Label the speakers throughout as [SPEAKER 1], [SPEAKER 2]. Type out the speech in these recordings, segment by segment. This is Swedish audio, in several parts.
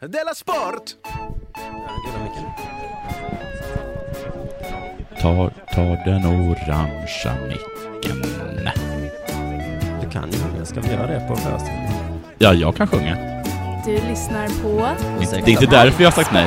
[SPEAKER 1] Della Sport!
[SPEAKER 2] Ta, ta den orangea micken.
[SPEAKER 3] Du kan ju sjunga. Ska vi göra det på föreställningen?
[SPEAKER 2] Ja, jag kan sjunga.
[SPEAKER 4] Du lyssnar på
[SPEAKER 2] Det är inte därför jag har sagt nej.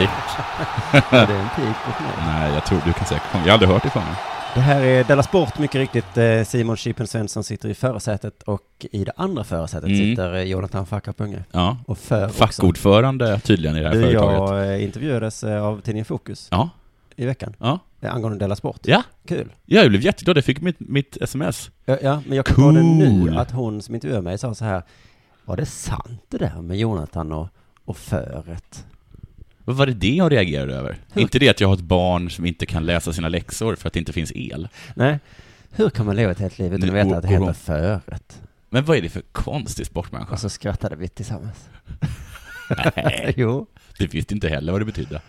[SPEAKER 3] Det är en pik mot mig.
[SPEAKER 2] Nej, jag tror du kan säkert sjunga. Jag har aldrig hört dig sjunga.
[SPEAKER 3] Det här är Della Sport, mycket riktigt. Eh, Simon Chippen Svensson sitter i förarsätet och i det andra förarsätet
[SPEAKER 2] Mm.
[SPEAKER 3] sitter eh, Jonathan Fackapunge.
[SPEAKER 2] Ja.
[SPEAKER 3] Och för också.
[SPEAKER 2] Fackordförande tydligen i det här
[SPEAKER 3] Du,
[SPEAKER 2] företaget.
[SPEAKER 3] jag eh, intervjuades eh, av tidningen Fokus
[SPEAKER 2] Ja,
[SPEAKER 3] i veckan
[SPEAKER 2] ja,
[SPEAKER 3] eh, angående Della Sport.
[SPEAKER 2] ja.
[SPEAKER 3] Kul.
[SPEAKER 2] Ja, jag blev jätteglad. Jag fick mitt, mitt sms.
[SPEAKER 3] Ja, ja men jag kom på det
[SPEAKER 2] Cool.
[SPEAKER 3] nu att hon som intervjuade mig sa så här, var det sant det där med Jonathan och, och föret?
[SPEAKER 2] Vad var det det jag reagerade över? Inte det att jag har ett barn som inte kan läsa sina läxor för att det inte finns el.
[SPEAKER 3] Nej, hur kan man leva ett helt liv utan att
[SPEAKER 2] Nu,
[SPEAKER 3] veta att det
[SPEAKER 2] och- och-
[SPEAKER 3] heter föret?
[SPEAKER 2] Men vad är det för konstig sportmänniska?
[SPEAKER 3] Och så skrattade vi tillsammans.
[SPEAKER 2] Nej,
[SPEAKER 3] Jo,
[SPEAKER 2] det visste inte heller vad det betydde.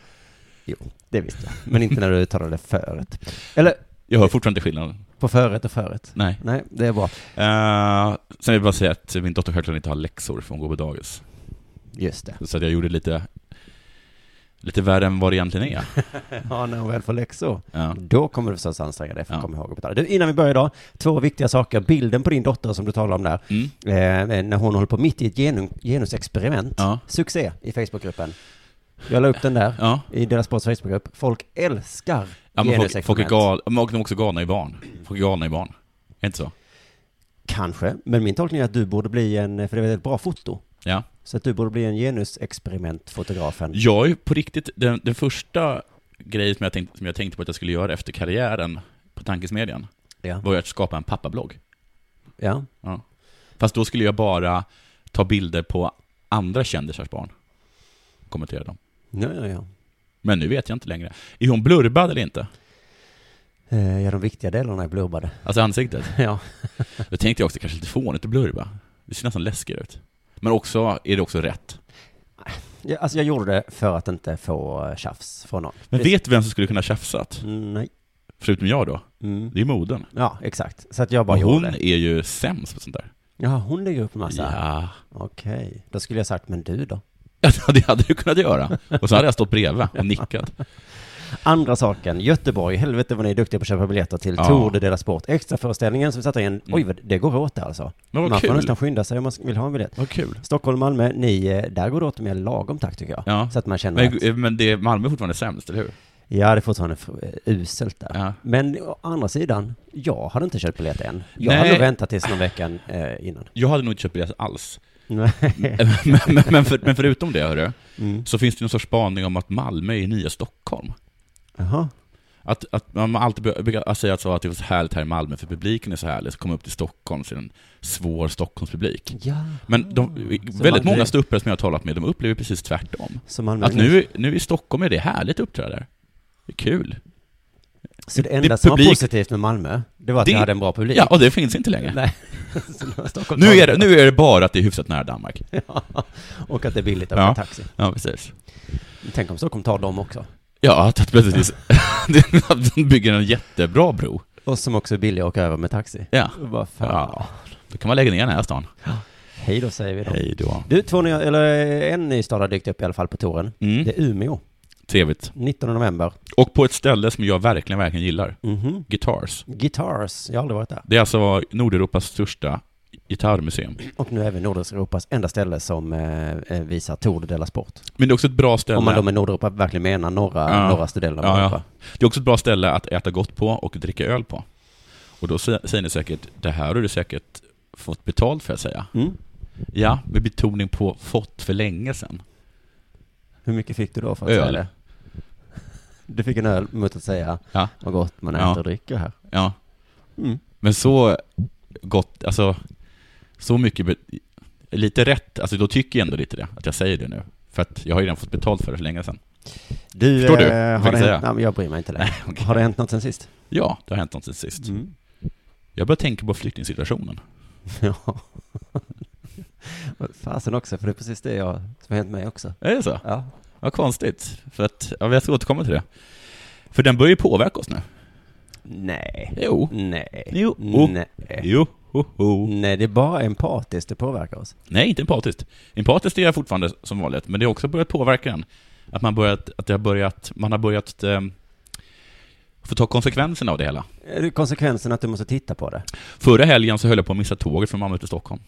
[SPEAKER 3] jo, det visste jag. Men inte när du uttalade föret. Eller
[SPEAKER 2] Jag hör fortfarande inte skillnaden.
[SPEAKER 3] på föret och föret.
[SPEAKER 2] Nej.
[SPEAKER 3] Nej, det är bra.
[SPEAKER 2] Eh, sen vill jag bara säga att min dotter självklart inte har läxor för hon går på dagis.
[SPEAKER 3] Just det.
[SPEAKER 2] Så att jag gjorde lite, lite värre än vad det egentligen är.
[SPEAKER 3] Ja, när hon väl får läxor.
[SPEAKER 2] Ja.
[SPEAKER 3] Då kommer du förstås anstränga dig för att
[SPEAKER 2] Ja.
[SPEAKER 3] komma ihåg att betala. Du, innan vi börjar idag, två viktiga saker. Bilden på din dotter som du talar om där,
[SPEAKER 2] Mm.
[SPEAKER 3] eh, när hon håller på mitt i ett genu- genusexperiment.
[SPEAKER 2] Ja.
[SPEAKER 3] Succé i Facebookgruppen. Jag la upp den där.
[SPEAKER 2] Ja.
[SPEAKER 3] I deras sports Facebookgrupp. Folk älskar
[SPEAKER 2] Ja, men folk,
[SPEAKER 3] genusexperiment.
[SPEAKER 2] folk är gal, men de är också galna i barn. Folk är galna i barn. Är det inte så?
[SPEAKER 3] Kanske, men min tolkning är att du borde bli en, för det är ett bra foto.
[SPEAKER 2] Ja.
[SPEAKER 3] Så att du borde bli en genusexperimentfotografen.
[SPEAKER 2] Jag är ju på riktigt, den, den första grejen som jag, tänkte, som jag tänkte på att jag skulle göra efter karriären på Tankesmedjan
[SPEAKER 3] Ja.
[SPEAKER 2] var ju att skapa en pappablogg.
[SPEAKER 3] ja.
[SPEAKER 2] Ja. Fast då skulle jag bara ta bilder på andra kändisars barn. Kommentera dem.
[SPEAKER 3] Ja, ja, ja.
[SPEAKER 2] Men nu vet jag inte längre. Är hon blurbad eller inte?
[SPEAKER 3] Eh, Ja, de viktiga delarna är blubbade.
[SPEAKER 2] Alltså ansiktet.
[SPEAKER 3] Ja.
[SPEAKER 2] Då tänkte jag också kanske lite fånigt att blurba. Det ser nästan läskigare ut. Men också, är det också rätt?
[SPEAKER 3] ja. Alltså jag gjorde det för att inte få eh, tjafs från någon.
[SPEAKER 2] Men vet du vem som skulle kunna tjafsat?
[SPEAKER 3] Mm, Nej.
[SPEAKER 2] Förutom jag då?
[SPEAKER 3] Mm.
[SPEAKER 2] Det är moden.
[SPEAKER 3] Ja, exakt. Så att jag bara
[SPEAKER 2] Och hon
[SPEAKER 3] gjorde det.
[SPEAKER 2] är ju sämst på sånt där.
[SPEAKER 3] Ja, hon lägger upp en massa.
[SPEAKER 2] Ja.
[SPEAKER 3] Okej. Då skulle jag sagt, men du då?
[SPEAKER 2] ja, det hade du kunnat göra. Och så hade jag stått bredvid och nickat.
[SPEAKER 3] Andra saken, Göteborg, helvete vad ni är duktiga på att köpa biljetter till
[SPEAKER 2] Ja.
[SPEAKER 3] Tour de Dela Sport. Extraföreställningen som satte in, oj vad- det går åt där alltså.
[SPEAKER 2] Men vad
[SPEAKER 3] man får
[SPEAKER 2] kul.
[SPEAKER 3] nästan skynda sig om man vill ha en biljett.
[SPEAKER 2] Vad kul.
[SPEAKER 3] Stockholm, Malmö, ni, eh, där går det åt mer lagom takt tycker jag.
[SPEAKER 2] Ja.
[SPEAKER 3] Så att man känner att,
[SPEAKER 2] Men, men det, Malmö är fortfarande sämst, eller hur?
[SPEAKER 3] ja det är fortfarande fr- eh, uselt där.
[SPEAKER 2] Ja.
[SPEAKER 3] Men å andra sidan, jag hade inte köpt biljett än. Jag
[SPEAKER 2] Nej.
[SPEAKER 3] hade nog väntat tills någon vecka eh, innan.
[SPEAKER 2] Jag hade nog inte köpt biljett alls.
[SPEAKER 3] Nej.
[SPEAKER 2] men, men, men, för, men förutom det, hörru,
[SPEAKER 3] Mm.
[SPEAKER 2] så finns det någon sorts spaning om att Malmö är nya Stockholm.
[SPEAKER 3] Jaha.
[SPEAKER 2] Att, att man alltid bör- brukar säga att, så att det var så härligt här i Malmö för publiken är så härlig, så kommer upp till Stockholm så är det en svår Stockholmspublik.
[SPEAKER 3] Ja.
[SPEAKER 2] Men de,
[SPEAKER 3] Så
[SPEAKER 2] väldigt
[SPEAKER 3] Malmö-
[SPEAKER 2] många ståuppare som jag har talat med, de upplever precis tvärtom.
[SPEAKER 3] Så Malmö
[SPEAKER 2] Att nu, nu i Stockholm är det härligt att uppträda där. Det är kul.
[SPEAKER 3] Så det
[SPEAKER 2] det-
[SPEAKER 3] enda som var
[SPEAKER 2] publik-
[SPEAKER 3] positivt med Malmö, det var att
[SPEAKER 2] Det-
[SPEAKER 3] ni hade en bra publik.
[SPEAKER 2] Ja, och det finns inte längre.
[SPEAKER 3] Nej. Så nu har Stockholm
[SPEAKER 2] Nu är, det, nu är det bara att det är hyfsat nära Danmark.
[SPEAKER 3] Och att det är billigt att åka
[SPEAKER 2] Ja.
[SPEAKER 3] taxi.
[SPEAKER 2] Ja, precis.
[SPEAKER 3] Tänk om Stockholm tar dem också.
[SPEAKER 2] Ja, att precis. De bygger en jättebra bro.
[SPEAKER 3] Och som också är billiga att åka över med taxi.
[SPEAKER 2] Ja.
[SPEAKER 3] Vad fan.
[SPEAKER 2] ja. Då kan man lägga ner den här stan.
[SPEAKER 3] Hej då säger vi då.
[SPEAKER 2] Hej då.
[SPEAKER 3] Du, två nya, eller eh, en ny stad har dykt upp i alla fall på touren.
[SPEAKER 2] Mm,
[SPEAKER 3] Det är Umeå,
[SPEAKER 2] trevligt.
[SPEAKER 3] 19 november.
[SPEAKER 2] Och på ett ställe som jag verkligen, verkligen gillar.
[SPEAKER 3] Mhm.
[SPEAKER 2] Guitars.
[SPEAKER 3] Guitars, jag har aldrig varit där.
[SPEAKER 2] Det är alltså Nordeuropas största gitarrmuseum.
[SPEAKER 3] Och nu är vi Nordeuropas enda ställe som eh, eh, visar Tour de Dela Sport.
[SPEAKER 2] Men det är också ett bra ställe,
[SPEAKER 3] Om man då med Nordeuropa verkligen menar norra,
[SPEAKER 2] Ja.
[SPEAKER 3] norra delen av
[SPEAKER 2] Ja, ja.
[SPEAKER 3] Europa.
[SPEAKER 2] det är också ett bra ställe att äta gott på och dricka öl på. Och då sä- säger ni säkert, det här har du säkert fått betalt för att säga.
[SPEAKER 3] Mm.
[SPEAKER 2] Ja, med betoning på fått för länge sedan.
[SPEAKER 3] Hur mycket fick du då för att
[SPEAKER 2] Öl.
[SPEAKER 3] säga det? Du fick en öl mot att säga
[SPEAKER 2] Ja.
[SPEAKER 3] vad gott man äter
[SPEAKER 2] Ja.
[SPEAKER 3] och dricker här.
[SPEAKER 2] Ja.
[SPEAKER 3] Mm.
[SPEAKER 2] Men så gott, alltså så mycket, be- lite rätt, alltså då tycker jag ändå lite det, att jag säger det nu. För att jag har ju redan fått betalt för det för länge sedan.
[SPEAKER 3] Du,
[SPEAKER 2] Förstår du?
[SPEAKER 3] eh,
[SPEAKER 2] Jag
[SPEAKER 3] Har
[SPEAKER 2] fick
[SPEAKER 3] det
[SPEAKER 2] säga.
[SPEAKER 3] hänt, nej, men jag bryr mig inte längre.
[SPEAKER 2] okej.
[SPEAKER 3] Har det hänt något sen sist?
[SPEAKER 2] Ja, det har hänt något sen sist.
[SPEAKER 3] Mm.
[SPEAKER 2] Jag börjar tänka på flyktingsituationen.
[SPEAKER 3] Ja. Fasen också, för det är precis det jag, som har hänt mig också.
[SPEAKER 2] Är det så?
[SPEAKER 3] Ja.
[SPEAKER 2] Vad konstigt. För att, ja, jag ska återkomma till det. För den börjar ju påverka oss nu.
[SPEAKER 3] Nej.
[SPEAKER 2] Jo.
[SPEAKER 3] Nej.
[SPEAKER 2] Jo.
[SPEAKER 3] Nej.
[SPEAKER 2] Jo. Ho, ho.
[SPEAKER 3] Nej, det är bara empatiskt det påverkar oss.
[SPEAKER 2] Nej, inte empatiskt. Empatiskt är jag fortfarande som vanligt, men det har också börjat påverka en. Att man, börjat, att det har börjat, man har börjat ehm, få ta konsekvenserna av det hela.
[SPEAKER 3] Är det Konsekvensen att du måste titta på det.
[SPEAKER 2] Förra helgen så höll jag på att missa tåget från Malmö till Stockholm.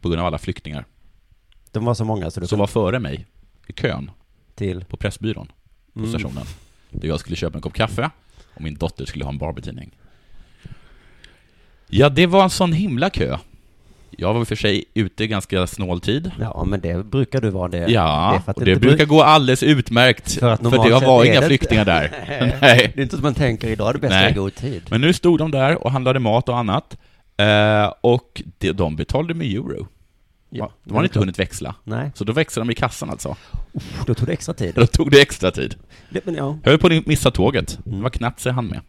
[SPEAKER 2] På grund av alla flyktingar
[SPEAKER 3] De var så många så du
[SPEAKER 2] som
[SPEAKER 3] kom
[SPEAKER 2] var före mig i kön
[SPEAKER 3] till.
[SPEAKER 2] på Pressbyrån. på
[SPEAKER 3] Mm.
[SPEAKER 2] stationen. Där jag skulle köpa en kopp kaffe och min dotter skulle ha en Barbie-tidning. Ja, det var en sån himla kö. Jag var i och för sig ute ganska snål tid.
[SPEAKER 3] Ja, men det brukar du vara det.
[SPEAKER 2] Ja,
[SPEAKER 3] det är för att
[SPEAKER 2] och
[SPEAKER 3] det
[SPEAKER 2] det
[SPEAKER 3] inte
[SPEAKER 2] brukar gå alldeles utmärkt
[SPEAKER 3] För att
[SPEAKER 2] för,
[SPEAKER 3] normalt
[SPEAKER 2] det
[SPEAKER 3] sett
[SPEAKER 2] var
[SPEAKER 3] är
[SPEAKER 2] inga
[SPEAKER 3] det-
[SPEAKER 2] flyktingar där. Nej.
[SPEAKER 3] Det är inte som man tänker idag, är det bästa
[SPEAKER 2] Nej.
[SPEAKER 3] är i god tid.
[SPEAKER 2] Men nu stod de där och handlade mat och annat. Eh, och de, de betalade med euro.
[SPEAKER 3] Ja,
[SPEAKER 2] de hade inte
[SPEAKER 3] klart.
[SPEAKER 2] hunnit växla.
[SPEAKER 3] Nej,
[SPEAKER 2] Så då växlade de i kassan alltså.
[SPEAKER 3] då tog det extra tid.
[SPEAKER 2] Då tog det extra tid.
[SPEAKER 3] Det, men ja.
[SPEAKER 2] Jag höll på att missa tåget. Det var knappt så jag hann med.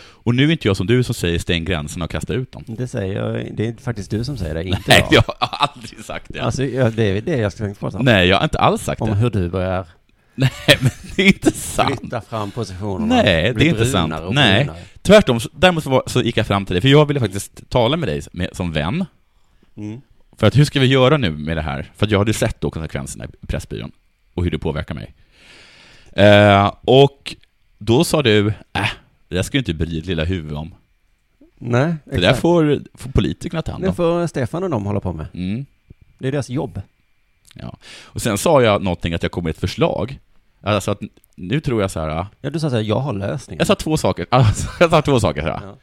[SPEAKER 2] Och nu är inte jag som du som säger stäng gränserna och kasta ut dem.
[SPEAKER 3] Det säger jag, det är faktiskt du som säger det, inte
[SPEAKER 2] Nej, jag
[SPEAKER 3] jag.
[SPEAKER 2] har aldrig sagt det.
[SPEAKER 3] Alltså, ja, det är det jag ska tänka på sen.
[SPEAKER 2] Nej, jag har inte alls sagt
[SPEAKER 3] Om
[SPEAKER 2] det.
[SPEAKER 3] hur du börjar
[SPEAKER 2] Nej, men det är inte sant.
[SPEAKER 3] flytta fram positionerna.
[SPEAKER 2] Nej, det
[SPEAKER 3] bli
[SPEAKER 2] är inte sant.
[SPEAKER 3] brunare och
[SPEAKER 2] Nej.
[SPEAKER 3] brunare.
[SPEAKER 2] Tvärtom, så- däremot så var- så gick jag fram till dig, för jag ville faktiskt tala med dig med, som vän.
[SPEAKER 3] Mm.
[SPEAKER 2] För att hur ska vi göra nu med det här? För att jag hade sett då konsekvenserna i Pressbyrån och hur det påverkar mig. Eh, och då sa du, äh, det där ska ju inte bry ditt lilla huvud om.
[SPEAKER 3] Nej,
[SPEAKER 2] Det där får, får politikerna ta hand
[SPEAKER 3] Det
[SPEAKER 2] om.
[SPEAKER 3] får Stefan och de hålla på med.
[SPEAKER 2] Mm.
[SPEAKER 3] Det är deras jobb.
[SPEAKER 2] Och sen sa jag någonting att jag kom med ett förslag. Alltså att nu tror jag så här.
[SPEAKER 3] Ja, du sa såhär, jag har lösningen.
[SPEAKER 2] Jag sa två saker. Alltså, jag sa två saker så här.
[SPEAKER 3] Ja.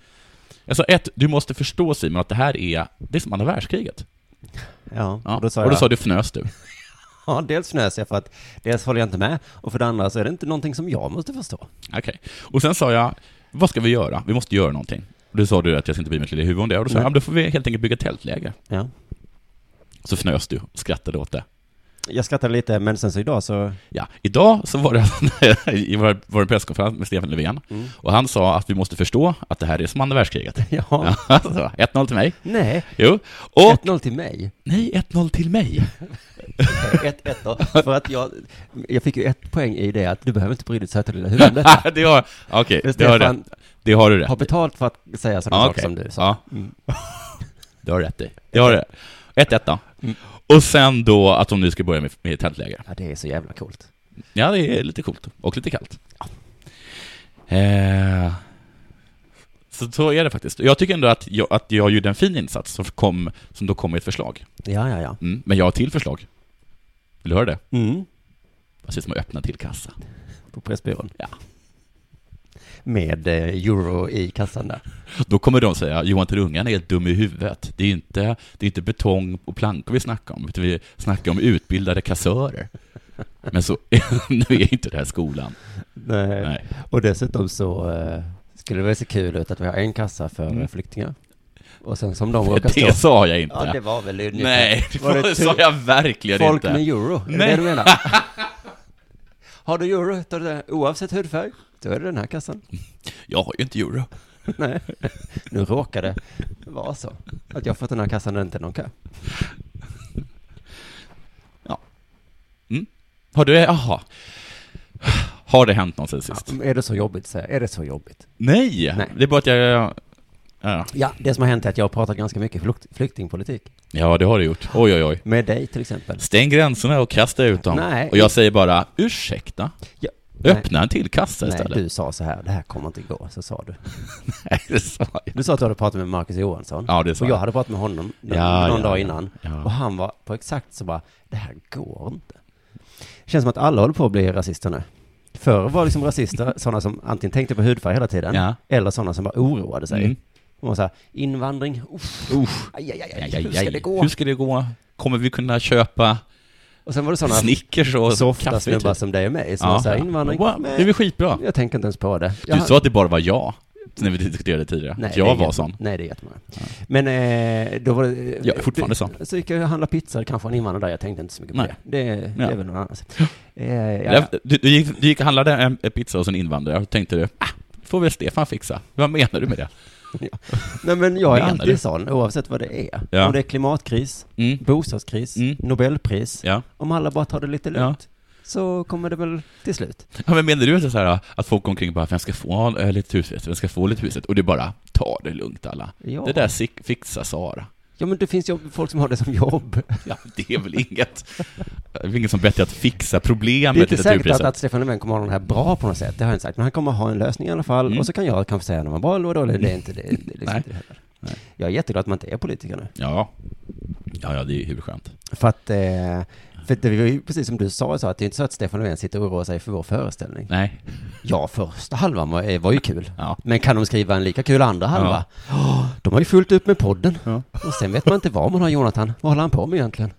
[SPEAKER 2] Jag sa ett, du måste förstå Simon att det här är, det är som andra världskriget.
[SPEAKER 3] ja,
[SPEAKER 2] Ja.
[SPEAKER 3] och då sa
[SPEAKER 2] och då
[SPEAKER 3] jag,
[SPEAKER 2] sa du fnös du.
[SPEAKER 3] ja, dels fnös jag för att dels håller jag inte med, och för det andra så är det inte någonting som jag måste förstå.
[SPEAKER 2] Okej. Och sen sa jag, vad ska vi göra? Vi måste göra någonting. Och då sa du att jag ska inte bry mig ett lilla huvud om det. Och då sa
[SPEAKER 3] Nej.
[SPEAKER 2] jag, ja, men då får vi helt enkelt bygga tältläger.
[SPEAKER 3] Ja.
[SPEAKER 2] Så fnös du och skrattade åt det.
[SPEAKER 3] Jag skrattade lite, men sen så idag så...
[SPEAKER 2] Ja, idag så var det, i vår, vår presskonferens med Stefan Löfven.
[SPEAKER 3] Mm.
[SPEAKER 2] Och han sa att vi måste förstå att det här är som andra världskriget.
[SPEAKER 3] Ja.
[SPEAKER 2] Ja, så 1-0 till mig.
[SPEAKER 3] Nej,
[SPEAKER 2] Jo. Och
[SPEAKER 3] 1-0 till mig.
[SPEAKER 2] Nej, 1-0 till mig.
[SPEAKER 3] 1-1 då. För att jag, jag fick ju ett poäng i det att du behöver inte bry dig söta lilla huvud om detta.
[SPEAKER 2] det har, okej,
[SPEAKER 3] För
[SPEAKER 2] det har du
[SPEAKER 3] Stefan
[SPEAKER 2] rätt. Det har du
[SPEAKER 3] har
[SPEAKER 2] rätt.
[SPEAKER 3] betalt för att säga sådana
[SPEAKER 2] Ja,
[SPEAKER 3] saker
[SPEAKER 2] okej.
[SPEAKER 3] som du sa.
[SPEAKER 2] Ja.
[SPEAKER 3] Mm.
[SPEAKER 2] Det har du rätt i. Det har du. 1-1 då.
[SPEAKER 3] Mm.
[SPEAKER 2] Och sen då att de nu ska börja med, med tältläger.
[SPEAKER 3] Ja, det är så jävla coolt.
[SPEAKER 2] Ja, det är lite coolt och lite kallt. Eh, så, så är det faktiskt. Jag tycker ändå att jag, att jag gjorde en fin insats som, kom, som då kom med ett förslag.
[SPEAKER 3] Ja, ja, ja.
[SPEAKER 2] Mm. Men jag har till förslag. Vill du höra det?
[SPEAKER 3] Mm.
[SPEAKER 2] Jag ser som att öppna till kassa.
[SPEAKER 3] På Pressbyrån.
[SPEAKER 2] Ja.
[SPEAKER 3] Med eh, euro i kassan där.
[SPEAKER 2] Då kommer de säga Johan till ungarna är helt dum i huvudet. Det är inte, det är inte betong och plankor vi snackar om, utan vi snackar om utbildade kassörer. Men så, nu är inte det här skolan.
[SPEAKER 3] Nej.
[SPEAKER 2] Nej.
[SPEAKER 3] Och dessutom så eh, skulle det väl se kul ut att vi har en kassa för
[SPEAKER 2] Mm.
[SPEAKER 3] eh, flyktingar. Och sen som de råkar stå...
[SPEAKER 2] Det sa jag inte.
[SPEAKER 3] Ja, det var väl yndigt.
[SPEAKER 2] Nej, det
[SPEAKER 3] Var
[SPEAKER 2] var-
[SPEAKER 3] tur-
[SPEAKER 2] sa jag verkligen
[SPEAKER 3] Folk
[SPEAKER 2] inte.
[SPEAKER 3] med euro, är det
[SPEAKER 2] Nej.
[SPEAKER 3] det du menar? Har du euro, tar du det, oavsett hudfärg, då är det den här kassan.
[SPEAKER 2] Jag har ju inte euro.
[SPEAKER 3] Nej, nu råkar det vara så att jag har fått den här kassan och inte någon kö.
[SPEAKER 2] Har du, jaha. Har det hänt något sen
[SPEAKER 3] Ja,
[SPEAKER 2] sist?
[SPEAKER 3] är det så jobbigt, säger jag. Är det så jobbigt?
[SPEAKER 2] Nej.
[SPEAKER 3] Nej.
[SPEAKER 2] det är bara att jag... Ja,
[SPEAKER 3] Ja, det som har hänt är att jag har pratat ganska mycket flukt, flyktingpolitik.
[SPEAKER 2] ja det har du gjort. Oj, oj, oj.
[SPEAKER 3] Med dig till exempel.
[SPEAKER 2] Stäng gränserna och kasta ut dem.
[SPEAKER 3] Nej.
[SPEAKER 2] Och jag säger bara, ursäkta,
[SPEAKER 3] Ja,
[SPEAKER 2] öppna en till kassa
[SPEAKER 3] Nej,
[SPEAKER 2] istället.
[SPEAKER 3] du sa så här, det här kommer inte gå, så sa du.
[SPEAKER 2] Nej, det sa jag.
[SPEAKER 3] Du sa att du hade pratat med Marcus Johansson.
[SPEAKER 2] Ja, det sa
[SPEAKER 3] och jag
[SPEAKER 2] jag.
[SPEAKER 3] hade pratat med honom någon,
[SPEAKER 2] Ja,
[SPEAKER 3] någon
[SPEAKER 2] ja,
[SPEAKER 3] dag
[SPEAKER 2] ja.
[SPEAKER 3] innan.
[SPEAKER 2] Ja.
[SPEAKER 3] Och han var på exakt så bara, det här går inte. Känns som att alla håller på att bli rasister nu. Förr var liksom rasister sådana som antingen tänkte på hudfärg hela tiden,
[SPEAKER 2] Ja.
[SPEAKER 3] eller sådana som bara oroade sig.
[SPEAKER 2] Mm.
[SPEAKER 3] De var så här, invandring, uff,
[SPEAKER 2] Usch.
[SPEAKER 3] aj, aj, aj,
[SPEAKER 2] Aj,
[SPEAKER 3] aj,
[SPEAKER 2] aj,
[SPEAKER 3] hur ska
[SPEAKER 2] aj.
[SPEAKER 3] det gå?
[SPEAKER 2] Hur ska det gå? Kommer vi kunna köpa
[SPEAKER 3] Och sen var det sådana
[SPEAKER 2] Snickers och
[SPEAKER 3] softa
[SPEAKER 2] kaffe?
[SPEAKER 3] snubbar
[SPEAKER 2] typ?
[SPEAKER 3] som dig och mig, som var så här, invandring,
[SPEAKER 2] Wow, det är väl skitbra?
[SPEAKER 3] jag tänker inte ens på det.
[SPEAKER 2] Du sa att det bara var jag, när vi diskuterade tidigare. att
[SPEAKER 3] det
[SPEAKER 2] jag
[SPEAKER 3] är
[SPEAKER 2] var
[SPEAKER 3] jätte-
[SPEAKER 2] sån.
[SPEAKER 3] Nej, det är jättemånga. Men eh, då var det...
[SPEAKER 2] Jag är fortfarande
[SPEAKER 3] det-
[SPEAKER 2] sån.
[SPEAKER 3] Så gick jag och handlade pizza, kanske en invandrare där, jag tänkte inte så mycket på
[SPEAKER 2] Nej.
[SPEAKER 3] det. Det, det
[SPEAKER 2] Ja.
[SPEAKER 3] är väl någon annans. Eh, ja, ja.
[SPEAKER 2] Där- Du, du, gick, du gick och handlade en en pizza hos en invandrare och tänkte du, ah, får väl Stefan fixa. Vad menar du med det?
[SPEAKER 3] Nej, men jag är
[SPEAKER 2] Menar du?
[SPEAKER 3] alltid sån, oavsett vad det är.
[SPEAKER 2] Ja.
[SPEAKER 3] Om det är klimatkris,
[SPEAKER 2] Mm.
[SPEAKER 3] bostadskris,
[SPEAKER 2] Mm.
[SPEAKER 3] Nobelpris,
[SPEAKER 2] Ja.
[SPEAKER 3] om alla bara tar det lite
[SPEAKER 2] Ja.
[SPEAKER 3] lugnt. så kommer det väl till slut.
[SPEAKER 2] Ja, men menar du alltså så här, att folk går omkring och bara, vem ska få eh, lite huset, vem ska få lite huset? Och det är bara, ta det lugnt alla.
[SPEAKER 3] Ja,
[SPEAKER 2] Det där sik- fixar Sara.
[SPEAKER 3] ja men det finns ju folk som har det som jobb.
[SPEAKER 2] Ja, det är väl inget, det är väl inget som bättre att fixa problemet
[SPEAKER 3] Det är inte
[SPEAKER 2] i
[SPEAKER 3] säkert att,
[SPEAKER 2] litteraturpriset.
[SPEAKER 3] att Stefan Löfven kommer ha den här bra på något sätt, det har jag inte sagt, men han kommer ha en lösning i alla fall,
[SPEAKER 2] Mm.
[SPEAKER 3] och så kan jag kanske säga om han var bra eller dålig, det är inte det. det, är liksom
[SPEAKER 2] Nej.
[SPEAKER 3] inte det heller.
[SPEAKER 2] Nej.
[SPEAKER 3] Jag är jätteglad att man inte är politiker nu.
[SPEAKER 2] Ja. ja, ja, det är ju hur skönt.
[SPEAKER 3] För att, eh, för det var ju precis som du sa, så att det är inte så att Stefan Löfven sitter och oroar sig för vår föreställning.
[SPEAKER 2] Nej,
[SPEAKER 3] Ja, första halvan var, eh, var ju kul.
[SPEAKER 2] ja.
[SPEAKER 3] Men kan de skriva en lika kul andra halva? Åh, de har ju fullt upp med podden.
[SPEAKER 2] Ja.
[SPEAKER 3] Och sen vet man inte vad man har Jonathan. Vad håller han på med egentligen?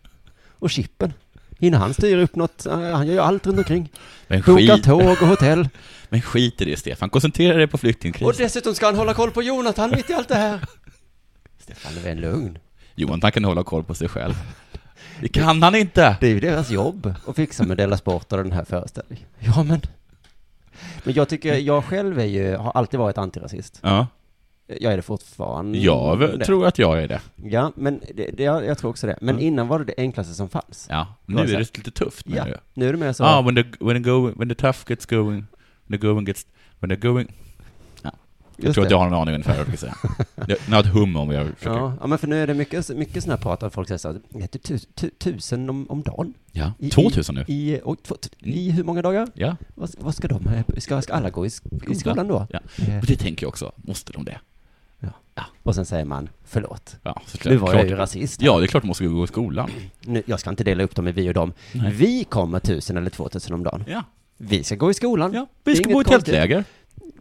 [SPEAKER 3] Och Chippen. Hinner han styra upp något? Eh, Han gör ju allt runt omkring.
[SPEAKER 2] Men
[SPEAKER 3] Bokar
[SPEAKER 2] skit,
[SPEAKER 3] tåg och hotell.
[SPEAKER 2] men skit i det Stefan, koncentrera dig på
[SPEAKER 3] Och
[SPEAKER 2] flyktingkrisen.
[SPEAKER 3] dessutom ska han hålla koll på Jonathan mitt i allt det här. Stefan Löfven, lugn.
[SPEAKER 2] Johan, han kan hålla koll på sig själv. Det kan han inte!
[SPEAKER 3] Det är ju deras jobb att fixa med Della Sport och den här föreställningen. Ja, men. Men jag tycker, jag själv är ju, har alltid varit antirasist.
[SPEAKER 2] Ja,
[SPEAKER 3] Jag är det fortfarande.
[SPEAKER 2] jag v-
[SPEAKER 3] Det.
[SPEAKER 2] tror att jag är det.
[SPEAKER 3] Ja, men det, det, jag, jag tror också det. Men innan var det det enklaste som fanns.
[SPEAKER 2] Ja, nu
[SPEAKER 3] Vad
[SPEAKER 2] är
[SPEAKER 3] sa-
[SPEAKER 2] det lite tufft
[SPEAKER 3] Ja.
[SPEAKER 2] menar du?
[SPEAKER 3] Nu är det mer så.
[SPEAKER 2] Ah, when the, when, the go, when the tough gets going, when the going gets, when the going... Jag
[SPEAKER 3] just
[SPEAKER 2] tror att
[SPEAKER 3] det.
[SPEAKER 2] jag har en aning ungefär vad jag ska säga. Det- Jag har ett hum om vad jag försöker. Ja.
[SPEAKER 3] Ja, ja, men för nu är det mycket, mycket sådana här prat där folk säger så här, det är typ tu, tu, tusen om, om dagen. I-
[SPEAKER 2] 2000 nu.
[SPEAKER 3] I, oj, två, I hur många dagar?
[SPEAKER 2] Ja.
[SPEAKER 3] Vad, vad ska de, eh, ska, ska alla gå i, sk- i skolan då?
[SPEAKER 2] Ja.
[SPEAKER 3] Eh,
[SPEAKER 2] Och det tänker jag också. Måste de det?
[SPEAKER 3] Och sen säger man, förlåt,
[SPEAKER 2] Ja, såklart.
[SPEAKER 3] nu var jag ju
[SPEAKER 2] Klart.
[SPEAKER 3] rasist.
[SPEAKER 2] Ja, det är klart de måste gå i skolan.
[SPEAKER 3] Nu, jag ska inte dela upp dem i vi och dem.
[SPEAKER 2] Nej.
[SPEAKER 3] Vi kommer tusen eller två tusen om dagen.
[SPEAKER 2] Ja.
[SPEAKER 3] Vi ska gå i skolan.
[SPEAKER 2] ja.
[SPEAKER 3] är
[SPEAKER 2] Vi ska
[SPEAKER 3] inget
[SPEAKER 2] bo i
[SPEAKER 3] konstigt.
[SPEAKER 2] tältläger.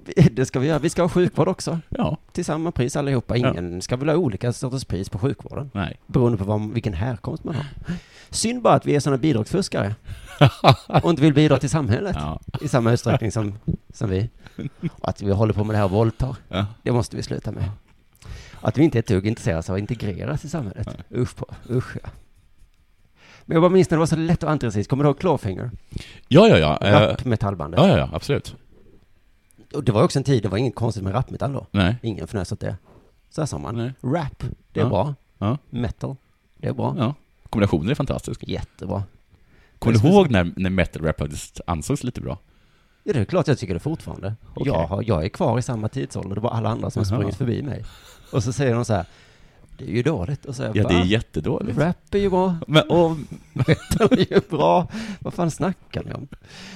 [SPEAKER 3] Vi- Det ska vi göra. Vi ska ha sjukvård också.
[SPEAKER 2] Ja.
[SPEAKER 3] Till samma pris allihopa. Ingen ska väl ha olika sorters pris på sjukvården.
[SPEAKER 2] Nej.
[SPEAKER 3] Beroende på vad, vilken härkomst man har. Synd bara att vi är sådana bidragsfuskare. Och inte vill bidra till samhället
[SPEAKER 2] Ja.
[SPEAKER 3] i samma utsträckning som, som vi. Och att vi håller på med det här och våldtar.
[SPEAKER 2] Ja.
[SPEAKER 3] Det måste vi sluta med. Att vi inte är ett dugg intresserade av att integreras i samhället. Usch på, usch ja. Men jag bara minns när det var så lätt och antirasist. Kommer du ihåg Clawfinger?
[SPEAKER 2] Ja, ja, ja. Eh,
[SPEAKER 3] Rappmetallbandet.
[SPEAKER 2] Ja, ja, ja. Absolut.
[SPEAKER 3] Och det var också en tid, det var inget konstigt med rapmetall då.
[SPEAKER 2] Nej.
[SPEAKER 3] Ingen fnös åt det. Så här sa man.
[SPEAKER 2] Nej.
[SPEAKER 3] Rap, det är
[SPEAKER 2] Ja.
[SPEAKER 3] bra.
[SPEAKER 2] Ja.
[SPEAKER 3] Metal, det är bra.
[SPEAKER 2] Ja. Kombinationen är fantastisk.
[SPEAKER 3] Jättebra.
[SPEAKER 2] Kommer
[SPEAKER 3] Det
[SPEAKER 2] du
[SPEAKER 3] är
[SPEAKER 2] ihåg när, när metal rap faktiskt ansågs lite bra?
[SPEAKER 3] Ja, det är klart jag tycker det fortfarande.
[SPEAKER 2] Okej.
[SPEAKER 3] Jag, har, jag är kvar i samma tidsålder, det var alla andra som har
[SPEAKER 2] Jaha.
[SPEAKER 3] sprungit förbi mig. Och så säger de så här, det är ju dåligt. Och så säger
[SPEAKER 2] Ja, det är
[SPEAKER 3] jag,
[SPEAKER 2] jättedåligt.
[SPEAKER 3] rap är ju bra,
[SPEAKER 2] Men, och,
[SPEAKER 3] metal är ju bra. Vad fan snackar ni om?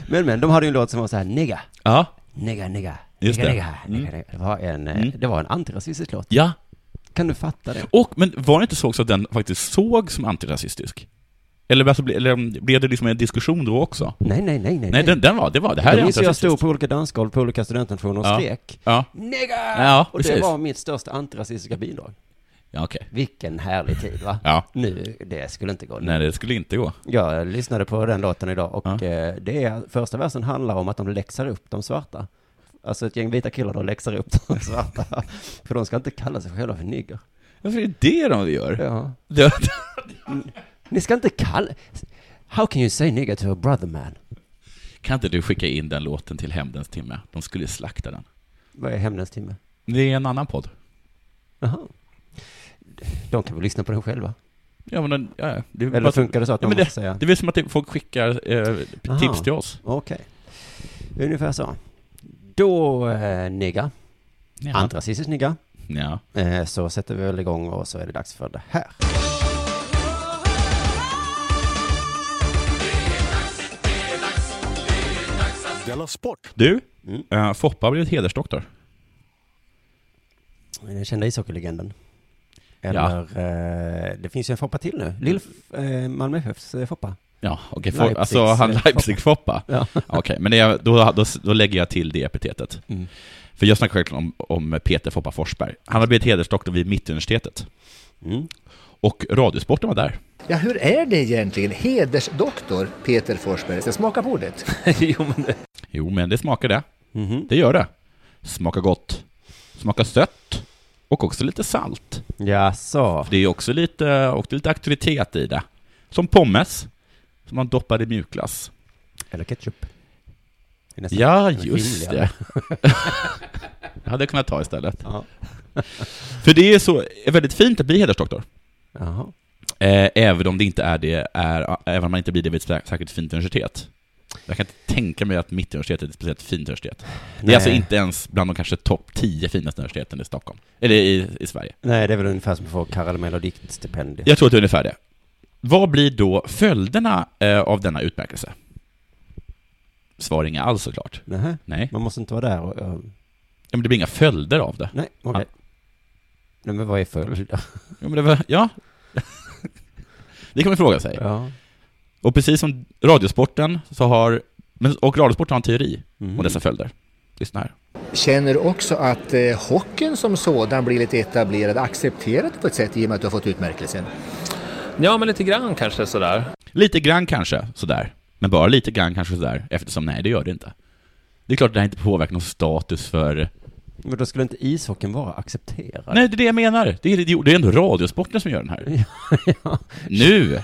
[SPEAKER 3] Men men, de hade ju en låt som var så här, nigga,
[SPEAKER 2] ja.
[SPEAKER 3] nigga, nigga.
[SPEAKER 2] Just
[SPEAKER 3] nigga,
[SPEAKER 2] det.
[SPEAKER 3] Nigga,
[SPEAKER 2] Mm.
[SPEAKER 3] nigga, nigga. Det var en, eh,
[SPEAKER 2] Mm.
[SPEAKER 3] det var en antirasistisk låt.
[SPEAKER 2] Ja.
[SPEAKER 3] Kan du fatta det?
[SPEAKER 2] Och, men var det inte så också att den faktiskt såg som antirasistisk? Eller, alltså, ble- eller blev det liksom en diskussion då också?
[SPEAKER 3] Nej, nej, nej, nej.
[SPEAKER 2] Nej, den, den var, det var, det här är
[SPEAKER 3] jag minns hur jag stod
[SPEAKER 2] antirasistiskt.
[SPEAKER 3] på olika dansgolv på olika studentnationer och
[SPEAKER 2] Ja.
[SPEAKER 3] skrek
[SPEAKER 2] Ja,
[SPEAKER 3] Nigga!
[SPEAKER 2] ja
[SPEAKER 3] och det
[SPEAKER 2] precis.
[SPEAKER 3] var mitt största antirasistiska bidrag.
[SPEAKER 2] Ja, okej.
[SPEAKER 3] Vilken härlig tid va?
[SPEAKER 2] Ja,
[SPEAKER 3] Nu, det skulle inte gå.
[SPEAKER 2] nej det skulle inte gå.
[SPEAKER 3] Jag lyssnade på den låten idag och
[SPEAKER 2] Ja.
[SPEAKER 3] eh, det är, första versen handlar om att de läxar upp de svarta. Alltså ett gäng vita killar då läxar upp de svarta. för de ska inte kalla sig själva för nigger.
[SPEAKER 2] Varför är det det de gör?
[SPEAKER 3] Ja.
[SPEAKER 2] Det,
[SPEAKER 3] Ni ska inte kalla... How can you say nigger to a brother man?
[SPEAKER 2] kan inte du skicka in den låten till Hämndens timme? De skulle slakta den.
[SPEAKER 3] Vad är hämndens timme?
[SPEAKER 2] Det är en annan podd.
[SPEAKER 3] Jaha. De kan väl lyssna på den själva?
[SPEAKER 2] Ja, men den, ja, det, är
[SPEAKER 3] Eller
[SPEAKER 2] bara-
[SPEAKER 3] funkar det så att
[SPEAKER 2] Ja,
[SPEAKER 3] man
[SPEAKER 2] men
[SPEAKER 3] måste säga?
[SPEAKER 2] det är väl som att det- folk skickar eh,
[SPEAKER 3] Aha.
[SPEAKER 2] tips till oss.
[SPEAKER 3] Okej. Ungefär så. Då, eh, nigga,
[SPEAKER 2] Ja.
[SPEAKER 3] antirasistisk nigga,
[SPEAKER 2] ja.
[SPEAKER 3] eh, så sätter vi väl igång och så är det dags för det här.
[SPEAKER 1] Della Sport.
[SPEAKER 2] Du,
[SPEAKER 3] Mm.
[SPEAKER 2] eh, Foppa har blivit hedersdoktor.
[SPEAKER 3] Eh, Den kända ishockeylegenden. Eller, eh, det finns ju en Foppa till nu. Lill eh, Malmö HIFs eh, Foppa.
[SPEAKER 2] Ja, okej.
[SPEAKER 3] Leipzigs,
[SPEAKER 2] Okay, alltså han
[SPEAKER 3] eh,
[SPEAKER 2] Leipzig-Foppa.
[SPEAKER 3] Ja.
[SPEAKER 2] Okej, men det, är- då, då, då lägger jag till det epitetet.
[SPEAKER 3] Mm.
[SPEAKER 2] För jag snackar självklart om, om Peter Foppa Forsberg. Han har blivit hedersdoktor vid Mittuniversitetet.
[SPEAKER 3] Mm.
[SPEAKER 2] Och Radiosporten var där.
[SPEAKER 5] Ja, hur är det egentligen? Hedersdoktor Peter Forsberg. Så Smaka på ordet.
[SPEAKER 2] Jo, men det smakar det.
[SPEAKER 3] Mhm.
[SPEAKER 2] Det gör det. Smakar gott. Smakar sött. Och också lite salt.
[SPEAKER 3] Ja, så.
[SPEAKER 2] För det är också lite, och det är lite auktoritet i det. Som pommes, som man doppar i mjukglass.
[SPEAKER 3] Eller ketchup. Det är nästan-
[SPEAKER 2] Ja,
[SPEAKER 3] den är
[SPEAKER 2] just
[SPEAKER 3] rimligare.
[SPEAKER 2] det. Jag hade kunnat ta istället.
[SPEAKER 3] Ja.
[SPEAKER 2] För det är så är väldigt fint att bli hedersdoktor.
[SPEAKER 3] Jaha.
[SPEAKER 2] Eh, även om det inte är det, är, även om man inte blir det vid ett sä- särskilt fint universitet. Jag kan inte tänka mig att Mittuniversitetet är ett speciellt fint universitet. Det
[SPEAKER 3] Nej.
[SPEAKER 2] är alltså inte ens bland de kanske topp 10 finaste universiteten i Stockholm. Eller i, i Sverige.
[SPEAKER 3] Nej, det är väl ungefär som att få karamell och diktstipendium.
[SPEAKER 2] Jag tror att det är ungefär det. Vad blir då följderna eh, av denna utmärkelse? Svar inga alls såklart.
[SPEAKER 3] Nähä,
[SPEAKER 2] Nej.
[SPEAKER 3] man måste inte vara där och... och
[SPEAKER 2] Ja, men det blir inga följder av det.
[SPEAKER 3] nej, okej. Nej, men vad är följder?
[SPEAKER 2] Ja, men det, var, ja. det kan man fråga sig.
[SPEAKER 3] Ja.
[SPEAKER 2] Och precis som Radiosporten så har, men- och Radiosporten har en teori
[SPEAKER 3] Mm.
[SPEAKER 2] om dessa följder. Lyssna här.
[SPEAKER 5] Känner också att eh, hockeyn som sådan blir lite etablerad, accepterad på ett sätt i och med att du har fått utmärkelsen?
[SPEAKER 6] Ja, men lite grann kanske sådär.
[SPEAKER 2] Lite grann kanske, sådär. Men bara lite grann kanske sådär, eftersom nej, det gör det inte. Det är klart att det här inte påverkar någon status för...
[SPEAKER 3] Men då skulle inte ishockeyn vara accepterad?
[SPEAKER 2] Nej, det är det jag menar. Det är, det är ändå Radiosporten som gör den här. Nu!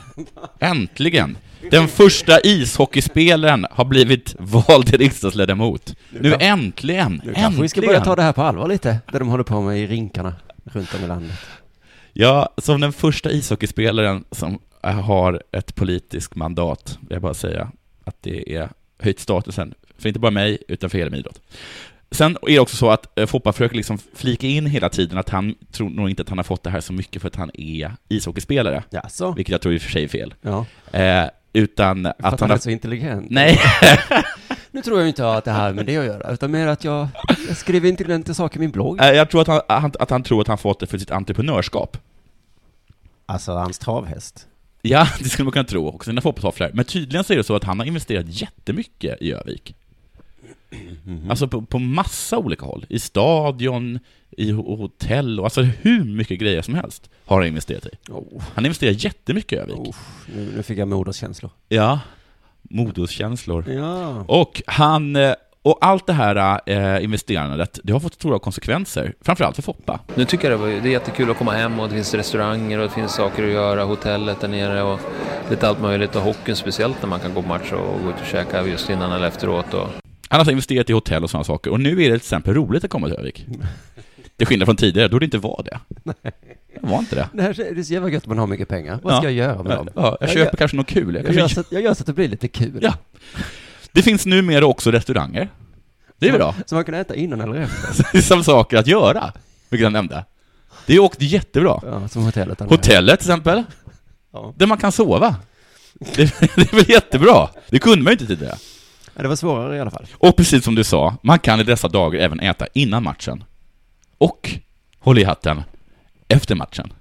[SPEAKER 2] Äntligen! Den första ishockeyspelaren har blivit vald till riksdagsledamot. Nu äntligen!
[SPEAKER 3] Nu kanske
[SPEAKER 2] äntligen!
[SPEAKER 3] vi ska börja ta det här på allvar lite, det de håller på med i rinkarna runt om i landet.
[SPEAKER 2] Ja, som den första ishockeyspelaren som äh, har ett politiskt mandat, vill jag bara säga, att det är höjt statusen, för inte bara mig, utan för hela min idrott. Sen är det också så att eh, Foppa försöker liksom flika in hela tiden att han tror nog inte att han har fått det här så mycket för att han är ishockeyspelare,
[SPEAKER 3] Jaså?
[SPEAKER 2] vilket jag tror i och för sig är fel,
[SPEAKER 3] Ja,
[SPEAKER 2] eh, utan
[SPEAKER 3] för att,
[SPEAKER 2] att
[SPEAKER 3] han
[SPEAKER 2] han
[SPEAKER 3] är
[SPEAKER 2] har...
[SPEAKER 3] så intelligent.
[SPEAKER 2] Nej,
[SPEAKER 3] Nu tror jag ju inte att det här med det att göra, utan mer att jag, jag skriver intelligenta saker i min blogg.
[SPEAKER 2] eh, jag tror att han, han, att han tror att han fått det för sitt entreprenörskap.
[SPEAKER 3] Alltså, hans travhäst.
[SPEAKER 2] Ja, det skulle man kunna tro också, sina fotbollstofflor. Men tydligen så är det så att han har investerat jättemycket i Övik. Alltså på, på massa olika håll. I stadion, i ho- hotell och alltså hur mycket grejer som helst har han investerat i.
[SPEAKER 3] Oh,
[SPEAKER 2] Han investerar jättemycket i Övik.
[SPEAKER 3] nu, nu fick jag moderskänslor.
[SPEAKER 2] Ja, moduskänslor.
[SPEAKER 3] Ja.
[SPEAKER 2] Och han, eh, och allt det här eh, investerandet, det har fått stora konsekvenser, framförallt för Foppa.
[SPEAKER 6] Nu tycker jag det, var, det är jättekul att komma hem och det finns restauranger och det finns saker att göra, hotellet där nere och lite allt möjligt och hockeyn speciellt när man kan gå på match och gå ut och käka just innan eller efteråt. Och...
[SPEAKER 2] Han har alltså investerat i hotell och sådana saker, och nu är det till exempel roligt att komma till Övik. Till skillnad från tidigare, då det inte var det. Det var inte det.
[SPEAKER 3] Det här det är så jävla gött att man har mycket pengar. Vad
[SPEAKER 2] Ja.
[SPEAKER 3] ska jag göra med dem?
[SPEAKER 2] Ja, jag köper kanske något kul. Jag
[SPEAKER 3] Jag
[SPEAKER 2] kanske...
[SPEAKER 3] gör, så att, jag gör så att det blir lite kul.
[SPEAKER 2] Ja. Det finns numera också restauranger. Det är bra.
[SPEAKER 3] Så man kan äta innan eller efter.
[SPEAKER 2] Som saker att göra, vilket han nämnde. Det är också jättebra.
[SPEAKER 3] Ja, som hotellet. där nere.
[SPEAKER 2] Hotellet till exempel,
[SPEAKER 3] Ja.
[SPEAKER 2] där man kan sova. Det, det är väl jättebra? Det kunde man ju inte tidigare.
[SPEAKER 3] Ja, det var svårare i alla fall.
[SPEAKER 2] Och precis som du sa, man kan i dessa dagar även äta innan matchen. Och, håll i hatten, efter matchen.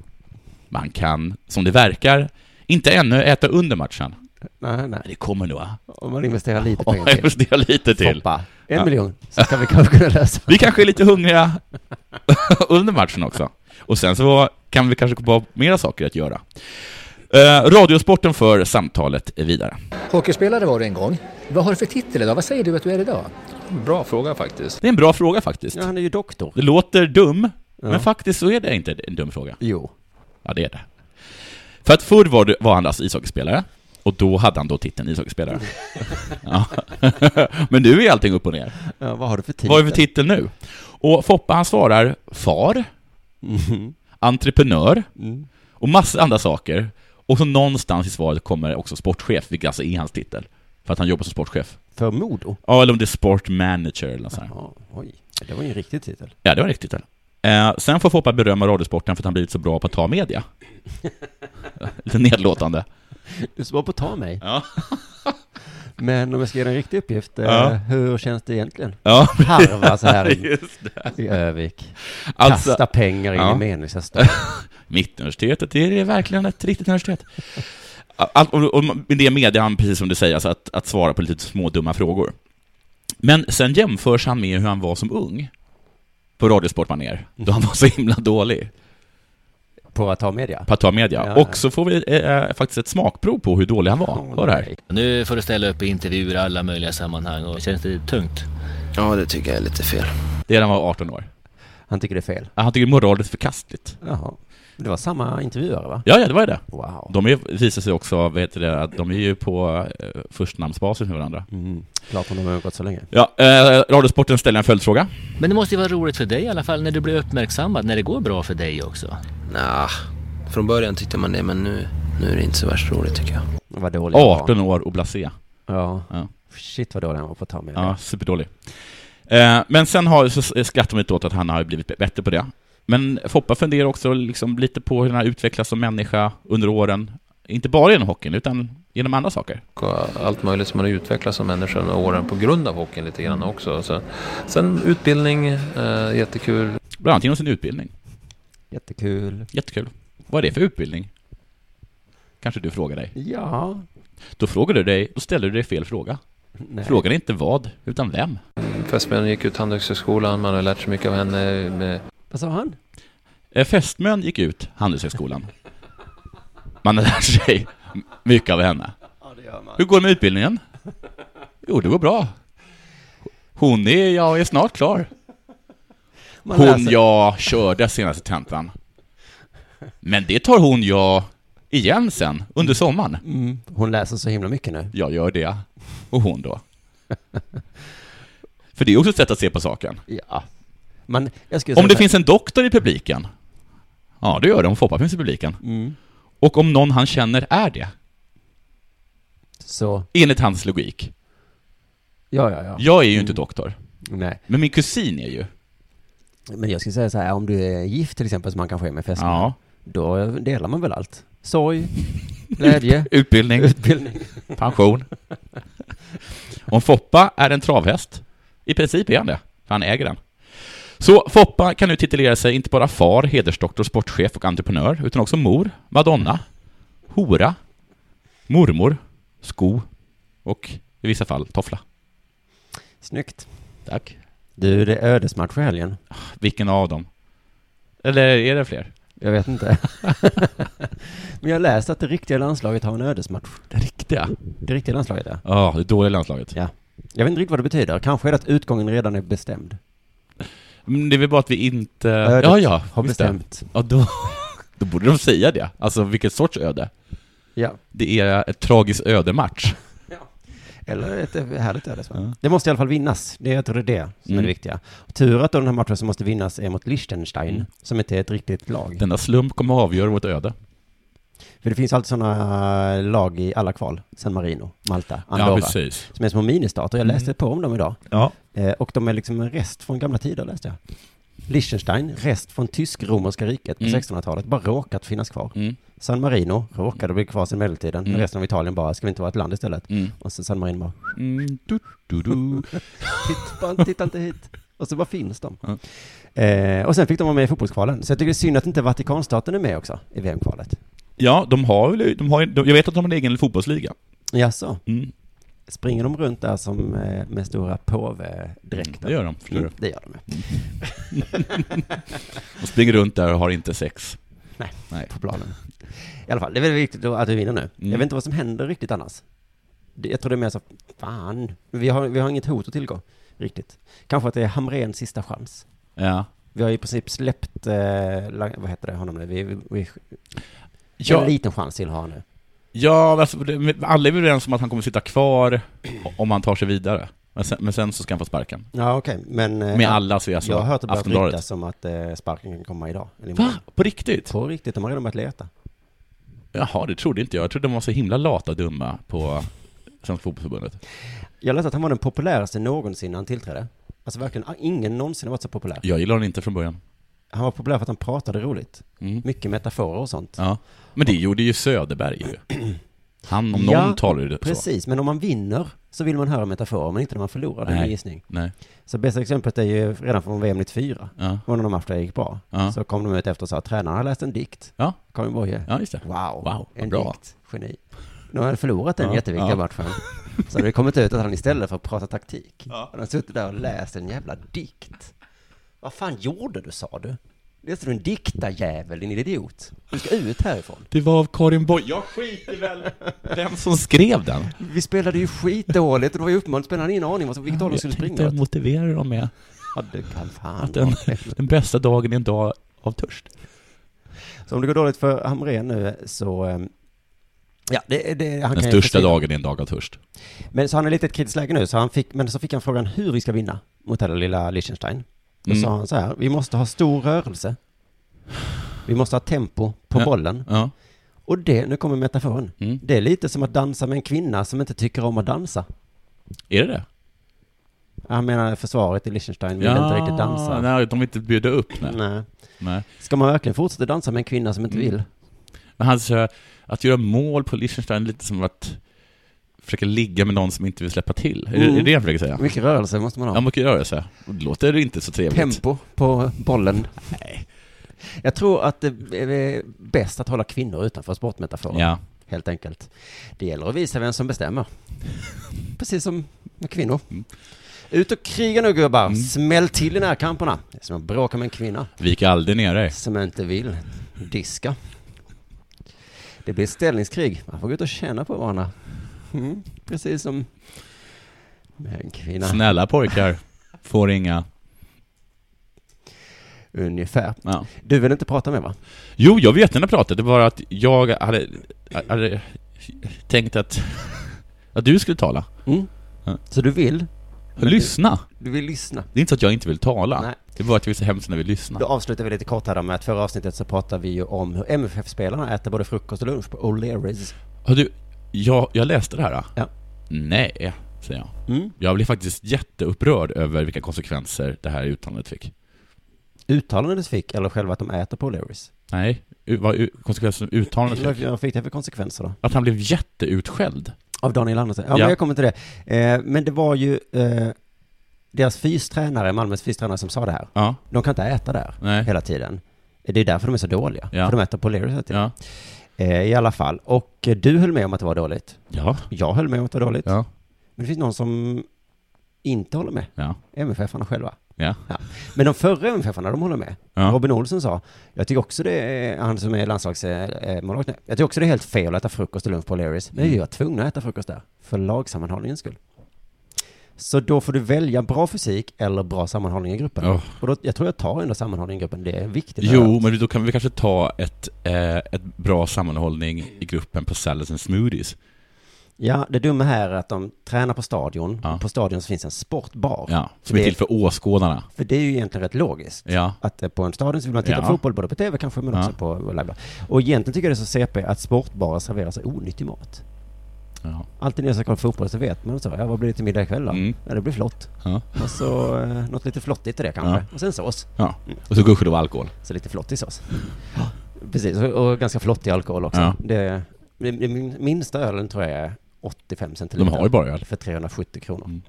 [SPEAKER 2] Man kan, som det verkar, inte ännu äta under matchen.
[SPEAKER 3] Nej,
[SPEAKER 2] Men
[SPEAKER 3] nej.
[SPEAKER 2] det kommer nog. ah.
[SPEAKER 3] Om man investerar lite
[SPEAKER 2] Om
[SPEAKER 3] pengar
[SPEAKER 2] jag
[SPEAKER 3] till.
[SPEAKER 2] investerar lite till.
[SPEAKER 3] Foppa. En
[SPEAKER 2] Ja.
[SPEAKER 3] miljon. Så ska vi kanske kunna lösa.
[SPEAKER 2] Vi kanske är lite hungriga under matchen också. Och sen så kan vi kanske komma på mera saker att göra. Eh, radiosporten för samtalet vidare.
[SPEAKER 5] Hockeyspelare var du en gång. Vad har du för titel idag? Vad säger du att du är idag?
[SPEAKER 6] Bra fråga faktiskt.
[SPEAKER 2] Det är en bra fråga faktiskt.
[SPEAKER 3] Ja, han är ju doktor.
[SPEAKER 2] Det låter dum, men
[SPEAKER 3] Ja.
[SPEAKER 2] faktiskt så är det inte en dum fråga.
[SPEAKER 3] Jo.
[SPEAKER 2] Ja, det är det. För att förr var, det, var han alltså ishockeyspelare, och då hade han då titeln ishockeyspelare. ja. men nu är allting upp och ner.
[SPEAKER 3] Ja, vad har du för titel?
[SPEAKER 2] Vad är för titel nu? Och Foppa han svarar far,
[SPEAKER 3] Mhm.
[SPEAKER 2] entreprenör,
[SPEAKER 3] Mm.
[SPEAKER 2] och massa andra saker. Och så någonstans i svaret kommer också sportchef, vilket alltså är hans titel. För att han jobbar som sportchef.
[SPEAKER 3] För Modo?
[SPEAKER 2] Ja, eller om det är sportmanager eller något sånt. här.
[SPEAKER 3] Ja, oj. Det var ju en riktig titel.
[SPEAKER 2] Ja, det var riktigt titel. Eh, sen får Foppa berömma Radiosporten för att han blivit så bra på att ta media. Lite nedlåtande.
[SPEAKER 3] Du var på att ta mig.
[SPEAKER 2] Ja.
[SPEAKER 3] Men om jag ska ge dig en riktig uppgift, eh,
[SPEAKER 2] Ja.
[SPEAKER 3] hur känns det egentligen?
[SPEAKER 2] Ja,
[SPEAKER 3] Harva så här i,
[SPEAKER 2] just det.
[SPEAKER 3] i Övik.
[SPEAKER 2] Alltså,
[SPEAKER 3] Kasta pengar in
[SPEAKER 2] ja.
[SPEAKER 3] i meningslösa stad.
[SPEAKER 2] Mittuniversitetet, det är verkligen ett riktigt universitet. Allt, och, och med det media han, precis som du säger, alltså att, att svara på lite små dumma frågor. Men sen jämförs han med hur han var som ung på Radiosportmanér, då han var så himla dålig
[SPEAKER 3] På att ta media.
[SPEAKER 2] på att ta media.
[SPEAKER 3] Ja, ja.
[SPEAKER 2] Och så får vi eh, faktiskt ett smakprov på hur dålig han var. Hör det här.
[SPEAKER 7] Nu får du ställa upp i intervjuer i alla möjliga sammanhang och känns det tungt?
[SPEAKER 8] Ja, det tycker jag är lite fel.
[SPEAKER 2] Det är när han var 18 år.
[SPEAKER 3] Han tycker det är fel.
[SPEAKER 2] Ah, Han tycker moraliskt förkastligt.
[SPEAKER 3] Jaha. Det var samma intervjuare va?
[SPEAKER 2] Ja, ja, det var ju det.
[SPEAKER 3] Wow.
[SPEAKER 2] De är, visar sig också, vet du det, att de är ju på eh, förstnamnsbasis med varandra.
[SPEAKER 3] Mm. Klart om de har gått så länge.
[SPEAKER 2] Ja, eh, Radiosporten ställer en följdfråga.
[SPEAKER 7] Men det måste ju vara roligt för dig i alla fall när du blir uppmärksammad, när det går bra för dig också.
[SPEAKER 8] Nja, från början tyckte man det men nu, nu är det inte så värst roligt tycker jag.
[SPEAKER 3] Vad dålig han var.
[SPEAKER 2] 18 år och blasé.
[SPEAKER 3] Ja.
[SPEAKER 2] Ja.
[SPEAKER 3] Shit vad dålig han var på att ta med.
[SPEAKER 2] Ja, superdålig. Eh, men sen har, så skrattar man inte åt att han har blivit bättre på det. Men Foppa funderar också liksom lite på hur han har utvecklats som människa under åren. Inte bara genom hockeyn, utan genom andra saker.
[SPEAKER 6] och allt möjligt som man har utvecklats som människa under åren på grund av hockeyn lite grann också. Så, sen utbildning, eh, jättekul.
[SPEAKER 2] Bland annat genom sin utbildning.
[SPEAKER 3] Jättekul.
[SPEAKER 2] Jättekul. Vad är det för utbildning? Kanske du frågar dig.
[SPEAKER 3] Ja.
[SPEAKER 2] Då frågar du dig, då ställer du dig fel fråga.
[SPEAKER 3] Nej.
[SPEAKER 2] Frågan är inte vad, utan vem.
[SPEAKER 6] Fästmön gick ut Handelshögskolan, man har lärt sig mycket av henne. Med,
[SPEAKER 3] Vad sa han?
[SPEAKER 2] Eh, Fästmön gick ut Handelshögskolan. Man har lärt sig mycket av henne.
[SPEAKER 3] Ja, det gör man.
[SPEAKER 2] Hur går det med utbildningen? Jo, det går bra. Hon är, jag är snart klar. Hon
[SPEAKER 3] läser-
[SPEAKER 2] jag körde senaste tentan. Men det tar hon jag igen sen, under sommaren.
[SPEAKER 3] Mm. Hon läser så himla mycket nu.
[SPEAKER 2] Jag gör det. Och hon då. För det är också ett sätt att se på saken.
[SPEAKER 3] Ja. Men jag skulle
[SPEAKER 2] Om det
[SPEAKER 3] säga-
[SPEAKER 2] finns en doktor i publiken. Ja, det gör det om Foppa finns i publiken.
[SPEAKER 3] Mm.
[SPEAKER 2] Och om någon han känner är det,
[SPEAKER 3] Så,
[SPEAKER 2] enligt hans logik.
[SPEAKER 3] ja, ja, ja.
[SPEAKER 2] Jag är ju inte
[SPEAKER 3] Mm.
[SPEAKER 2] doktor,
[SPEAKER 3] Nej.
[SPEAKER 2] men min kusin är ju.
[SPEAKER 3] Men jag skulle säga så här, om du är gift till exempel, som man kanske är med fästmön,
[SPEAKER 2] Ja,
[SPEAKER 3] då delar man väl allt. Sorg, glädje,
[SPEAKER 2] utbildning,
[SPEAKER 3] utbildning.
[SPEAKER 2] pension. Om Foppa är en travhäst, i princip är han det, för han äger den. Så Foppa kan nu titulera sig inte bara far, hedersdoktor, sportchef och entreprenör, utan också mor, madonna, hora, mormor, sko och i vissa fall toffla.
[SPEAKER 3] Snyggt.
[SPEAKER 2] Tack.
[SPEAKER 3] Du, det är ödesmatch i helgen.
[SPEAKER 2] Vilken av dem? Eller är det fler?
[SPEAKER 3] Jag vet inte. Men jag läste att det riktiga landslaget har en ödesmatch.
[SPEAKER 2] Den riktiga?
[SPEAKER 3] Det riktiga landslaget, ja.
[SPEAKER 2] Ja, det dåliga landslaget.
[SPEAKER 3] Jag vet inte riktigt vad det betyder. Kanske är det att utgången redan är bestämd.
[SPEAKER 2] Men det är väl bara att vi inte...
[SPEAKER 3] Ödet
[SPEAKER 2] ja, ja.
[SPEAKER 3] har
[SPEAKER 2] just det.
[SPEAKER 3] bestämt.
[SPEAKER 2] Ja, då, då borde de säga det. Alltså, vilket sorts öde?
[SPEAKER 3] Ja.
[SPEAKER 2] Det är ett tragiskt ödematch.
[SPEAKER 3] Eller ett härligt ödesmatch.
[SPEAKER 2] Ja.
[SPEAKER 3] Det måste i alla fall vinnas. Det, jag tror det är det som är
[SPEAKER 2] Mm.
[SPEAKER 3] det viktiga. Tur att då den här matchen som måste vinnas är mot Liechtenstein,
[SPEAKER 2] Mm.
[SPEAKER 3] som inte är ett riktigt lag.
[SPEAKER 2] Denna slump kommer att avgöra vårt öde.
[SPEAKER 3] För det finns alltid sådana lag i alla kval. San Marino, Malta,
[SPEAKER 2] Ja,
[SPEAKER 3] Andorra.
[SPEAKER 2] precis.
[SPEAKER 3] som är små ministater. Jag läste
[SPEAKER 2] Mm.
[SPEAKER 3] på om dem idag.
[SPEAKER 2] Ja.
[SPEAKER 3] Eh, och de är liksom en rest från gamla tider, läste jag. Liechtenstein, rest från tysk-romerska riket på
[SPEAKER 2] Mm.
[SPEAKER 3] 1600-talet, bara råkat finnas kvar.
[SPEAKER 2] Mm,
[SPEAKER 3] San Marino råkade bli kvar sedan medeltiden, men
[SPEAKER 2] Mm.
[SPEAKER 3] resten av Italien bara, ska vi inte vara ett land istället?
[SPEAKER 2] mm,
[SPEAKER 3] Och så San Marino bara,
[SPEAKER 2] mm, du, du, du.
[SPEAKER 3] titta, bara, titta inte hit. Och så bara finns de.
[SPEAKER 2] Ja.
[SPEAKER 3] Eh, och sen fick de vara med i fotbollskvalen. Så jag tycker det är synd att inte Vatikanstaten är med också i VM-kvalet.
[SPEAKER 2] Ja, de har väl... De har, de, jag vet att de har en egen fotbollsliga.
[SPEAKER 3] Jaså,
[SPEAKER 2] Mm,
[SPEAKER 3] springer de runt där som eh, med stora påvedräkter?
[SPEAKER 2] det gör de, förstår du.
[SPEAKER 3] Mm, det gör de ju,
[SPEAKER 2] De springer runt där och har inte sex.
[SPEAKER 3] på planen. I alla fall, det är väldigt viktigt då att vi vinner nu.
[SPEAKER 2] Mm.
[SPEAKER 3] Jag vet inte vad som händer riktigt annars. Det- Jag tror det är mer så, fan, vi har, vi har inget hot att tillgå, riktigt. Kanske att det är Hamrens sista chans.
[SPEAKER 2] Ja.
[SPEAKER 3] Vi har i princip släppt, eh, la- vad heter det, honom nu? Vi, vi, vi, En
[SPEAKER 2] Ja,
[SPEAKER 3] liten chans till har han nu.
[SPEAKER 2] ja men alltså, det- alla är väl överens om att han kommer sitta kvar om han tar sig vidare. Men sen, men sen så ska han få sparken.
[SPEAKER 3] Ja, okej, men... eh,
[SPEAKER 2] Med alla så är alltså
[SPEAKER 3] jag har hört att det börjat
[SPEAKER 2] Aftonbladet.
[SPEAKER 3] ryktas om att eh, sparken kan komma idag. Eller
[SPEAKER 2] Va?
[SPEAKER 3] imorgon.
[SPEAKER 2] På riktigt?
[SPEAKER 3] På riktigt, de har redan börjat leta.
[SPEAKER 2] Jaha, det trodde inte jag. Jag trodde de var så himla lata och dumma på Svenska Fotbollförbundet.
[SPEAKER 3] Jag läste att han var den populäraste någonsin när han tillträdde. Alltså verkligen, ah, ingen någonsin har varit så populär.
[SPEAKER 2] Jag gillar den inte från början.
[SPEAKER 3] Han var populär för att han pratade roligt.
[SPEAKER 2] Mm.
[SPEAKER 3] Mycket metaforer och sånt.
[SPEAKER 2] Ja. Men det gjorde ju Söderberg ju. Han om någon
[SPEAKER 3] Ja,
[SPEAKER 2] talade ju så.
[SPEAKER 3] Precis, men om man vinner så vill man höra metaforer, men inte när man förlorar, det är min
[SPEAKER 2] Nej.
[SPEAKER 3] gissning.
[SPEAKER 2] Nej.
[SPEAKER 3] Så bästa exemplet är ju redan från VM 94,
[SPEAKER 2] Ja.
[SPEAKER 3] var när de matcherna gick bra.
[SPEAKER 2] Ja.
[SPEAKER 3] Så kom de ut efter och sa att tränaren har läst en dikt.
[SPEAKER 2] Ja.
[SPEAKER 3] Karin Boye.
[SPEAKER 2] ja, just det.
[SPEAKER 3] Wow,
[SPEAKER 2] Wow, vad
[SPEAKER 3] en
[SPEAKER 2] bra.
[SPEAKER 3] dikt, geni. Nu har jag förlorat den
[SPEAKER 2] Ja,
[SPEAKER 3] jätteviktiga
[SPEAKER 2] ja.
[SPEAKER 3] matchen. Så hade det kommit ut att han istället för att prata taktik, hade han suttit där och läst en jävla dikt. Vad fan gjorde du, sa du? Läste du en diktarjävel, din idiot? Du ska ut härifrån.
[SPEAKER 2] Det var av Karin Boye. Jag skiter väl vem som skrev den.
[SPEAKER 3] Vi spelade ju skitdåligt och det var ju uppenbart, spelarna hade ingen aning om vilket håll de skulle springa åt.
[SPEAKER 2] motivera dem med
[SPEAKER 3] Ja, du kan fan.
[SPEAKER 2] den, den bästa dagen är en dag av törst.
[SPEAKER 3] Så om det går dåligt för Hamrén nu så... ehm, Ja, det, det,
[SPEAKER 2] Den
[SPEAKER 3] han kan ju
[SPEAKER 2] största
[SPEAKER 3] försvinna.
[SPEAKER 2] dagen är en dag av törst.
[SPEAKER 3] Men så han är lite i ett kritiskt läge nu, så han fick, men så fick han frågan hur vi ska vinna mot det där lilla Liechtenstein. Då
[SPEAKER 2] Mm.
[SPEAKER 3] sa han så här, vi måste ha stor rörelse. Vi måste ha tempo på
[SPEAKER 2] Ja.
[SPEAKER 3] bollen.
[SPEAKER 2] Ja.
[SPEAKER 3] Och det, nu kommer metaforen.
[SPEAKER 2] Mm.
[SPEAKER 3] Det är lite som att dansa med en kvinna som inte tycker om att dansa.
[SPEAKER 2] Är det det?
[SPEAKER 3] Han menar försvaret i Liechtenstein vill inte riktigt dansa. Mm.
[SPEAKER 2] Nej, de vill inte bjuda upp. Nej.
[SPEAKER 3] Nej.
[SPEAKER 2] Nej.
[SPEAKER 3] Ska man verkligen fortsätta dansa med en kvinna som inte
[SPEAKER 2] Mm.
[SPEAKER 3] vill?
[SPEAKER 2] Men han säger att göra mål på Liechtenstein är lite som att försöka ligga med någon som inte vill släppa till. Är, det,
[SPEAKER 3] Mm.
[SPEAKER 2] är det jag försöker säga?
[SPEAKER 3] Mycket rörelse måste man ha.
[SPEAKER 2] Ja, mycket rörelse. Och Det låter inte så trevligt.
[SPEAKER 3] Tempo på bollen. Nej. Jag tror att det är bäst att hålla kvinnor utanför sportmetaforen.
[SPEAKER 2] Ja.
[SPEAKER 3] Helt enkelt. Det gäller att visa vem som bestämmer. Precis som med kvinnor.
[SPEAKER 2] Mm.
[SPEAKER 3] Ut och kriga nu gubbar.
[SPEAKER 2] Mm.
[SPEAKER 3] Smäll till i närkamperna. Det är som att bråka med en kvinna
[SPEAKER 2] Vik aldrig ner dig.
[SPEAKER 3] som inte vill diska. Det blir ställningskrig. Man får gå ut och känna på varandra. Mm. Precis som med en kvinna.
[SPEAKER 2] Snälla pojkar, får inga.
[SPEAKER 3] Ungefär.
[SPEAKER 2] Ja.
[SPEAKER 3] Du vill inte prata med va?
[SPEAKER 2] Jo, jag vet när jag pratade, det var att jag hade, hade tänkt att, att du skulle tala.
[SPEAKER 3] Mm.
[SPEAKER 2] Ja.
[SPEAKER 3] Så du vill?
[SPEAKER 2] Lyssna!
[SPEAKER 3] Du vill lyssna?
[SPEAKER 2] Det är inte så att jag inte vill tala.
[SPEAKER 3] Nej.
[SPEAKER 2] Det är bara att jag vill så hemskt gärna vill lyssna.
[SPEAKER 3] Då avslutar vi lite kort här då med att förra avsnittet så pratade vi ju om hur MFF-spelarna äter både frukost och lunch på O'Learys.
[SPEAKER 2] Har du, jag, jag läste det här. då.
[SPEAKER 3] Ja.
[SPEAKER 2] Nej, säger jag.
[SPEAKER 3] Mm.
[SPEAKER 2] Jag blev faktiskt jätteupprörd över vilka konsekvenser det här uttalandet fick.
[SPEAKER 3] Uttalandet du fick, eller själva att de äter på O'Learys?
[SPEAKER 2] Nej, u- vad u- konsekvensen av uttalandet
[SPEAKER 3] Vad
[SPEAKER 2] fick.
[SPEAKER 3] vad fick det för konsekvenser då?
[SPEAKER 2] Att han blev jätteutskälld.
[SPEAKER 3] Av Daniel Andersson? Ja,
[SPEAKER 2] Ja.
[SPEAKER 3] men jag kommer till det. Eh, men det var ju eh, deras fystränare, Malmös fystränare, som sa det här.
[SPEAKER 2] Ja,
[SPEAKER 3] De kan inte äta där
[SPEAKER 2] nej.
[SPEAKER 3] hela tiden. Det är därför de är så dåliga.
[SPEAKER 2] Ja.
[SPEAKER 3] För de äter på O'Learys hela tiden.
[SPEAKER 2] Ja.
[SPEAKER 3] Eh, I alla fall. Och eh, du höll med om att det var dåligt.
[SPEAKER 2] Ja.
[SPEAKER 3] Jag höll med om att det var dåligt.
[SPEAKER 2] Ja.
[SPEAKER 3] Men det finns någon som inte håller med.
[SPEAKER 2] Ja.
[SPEAKER 3] MFF-arna själva.
[SPEAKER 2] Ja.
[SPEAKER 3] Men de förra MFF-arna, de håller med.
[SPEAKER 2] Ja.
[SPEAKER 3] Robin Olsson sa, jag tycker också det är, han som är eh, landslagsmålvakt, jag tycker också det är helt fel att äta frukost och lunch på O'Learys.
[SPEAKER 2] Mm.
[SPEAKER 3] Men vi var tvungna att äta frukost där, för lagsammanhållningens skull. Så då får du välja bra fysik eller bra sammanhållning i gruppen.
[SPEAKER 2] Ja.
[SPEAKER 3] Och då, jag tror jag tar ändå sammanhållning i gruppen, det är viktigt.
[SPEAKER 2] Oh. Jo, men då kan vi kanske ta ett, eh, ett bra sammanhållning i gruppen på Salads and Smoothies.
[SPEAKER 3] Ja, det dumma här är att de tränar på stadion,
[SPEAKER 2] Ja.
[SPEAKER 3] på stadion så finns en sportbar.
[SPEAKER 2] Ja, som är
[SPEAKER 3] Det-
[SPEAKER 2] till för åskådarna.
[SPEAKER 3] För det är ju egentligen rätt logiskt.
[SPEAKER 2] Ja.
[SPEAKER 3] Att eh, på en stadion så vill man titta
[SPEAKER 2] Ja.
[SPEAKER 3] på fotboll, både på tv kanske, men
[SPEAKER 2] Ja.
[SPEAKER 3] också på live. då. Och egentligen tycker jag det är så CP att sportbarer serverar så onyttig mat.
[SPEAKER 2] ja.
[SPEAKER 3] Alltid när jag ska kolla fotboll så vet man så, ja vad blir det till middag ikväll då?
[SPEAKER 2] Mm.
[SPEAKER 3] Ja, det blir flott.
[SPEAKER 2] Ja.
[SPEAKER 3] Och så eh, något lite flottigt i det kanske. Och sen sås.
[SPEAKER 2] ja. Och så gudskelov alkohol.
[SPEAKER 3] Så lite flottig sås. Precis, och, och ganska flottig alkohol också.
[SPEAKER 2] Ja.
[SPEAKER 3] Det, det, det min- minsta ölen tror jag är 85
[SPEAKER 2] De
[SPEAKER 3] centiliter.
[SPEAKER 2] har ju bara öl.
[SPEAKER 3] För 370 kronor.
[SPEAKER 2] Mm.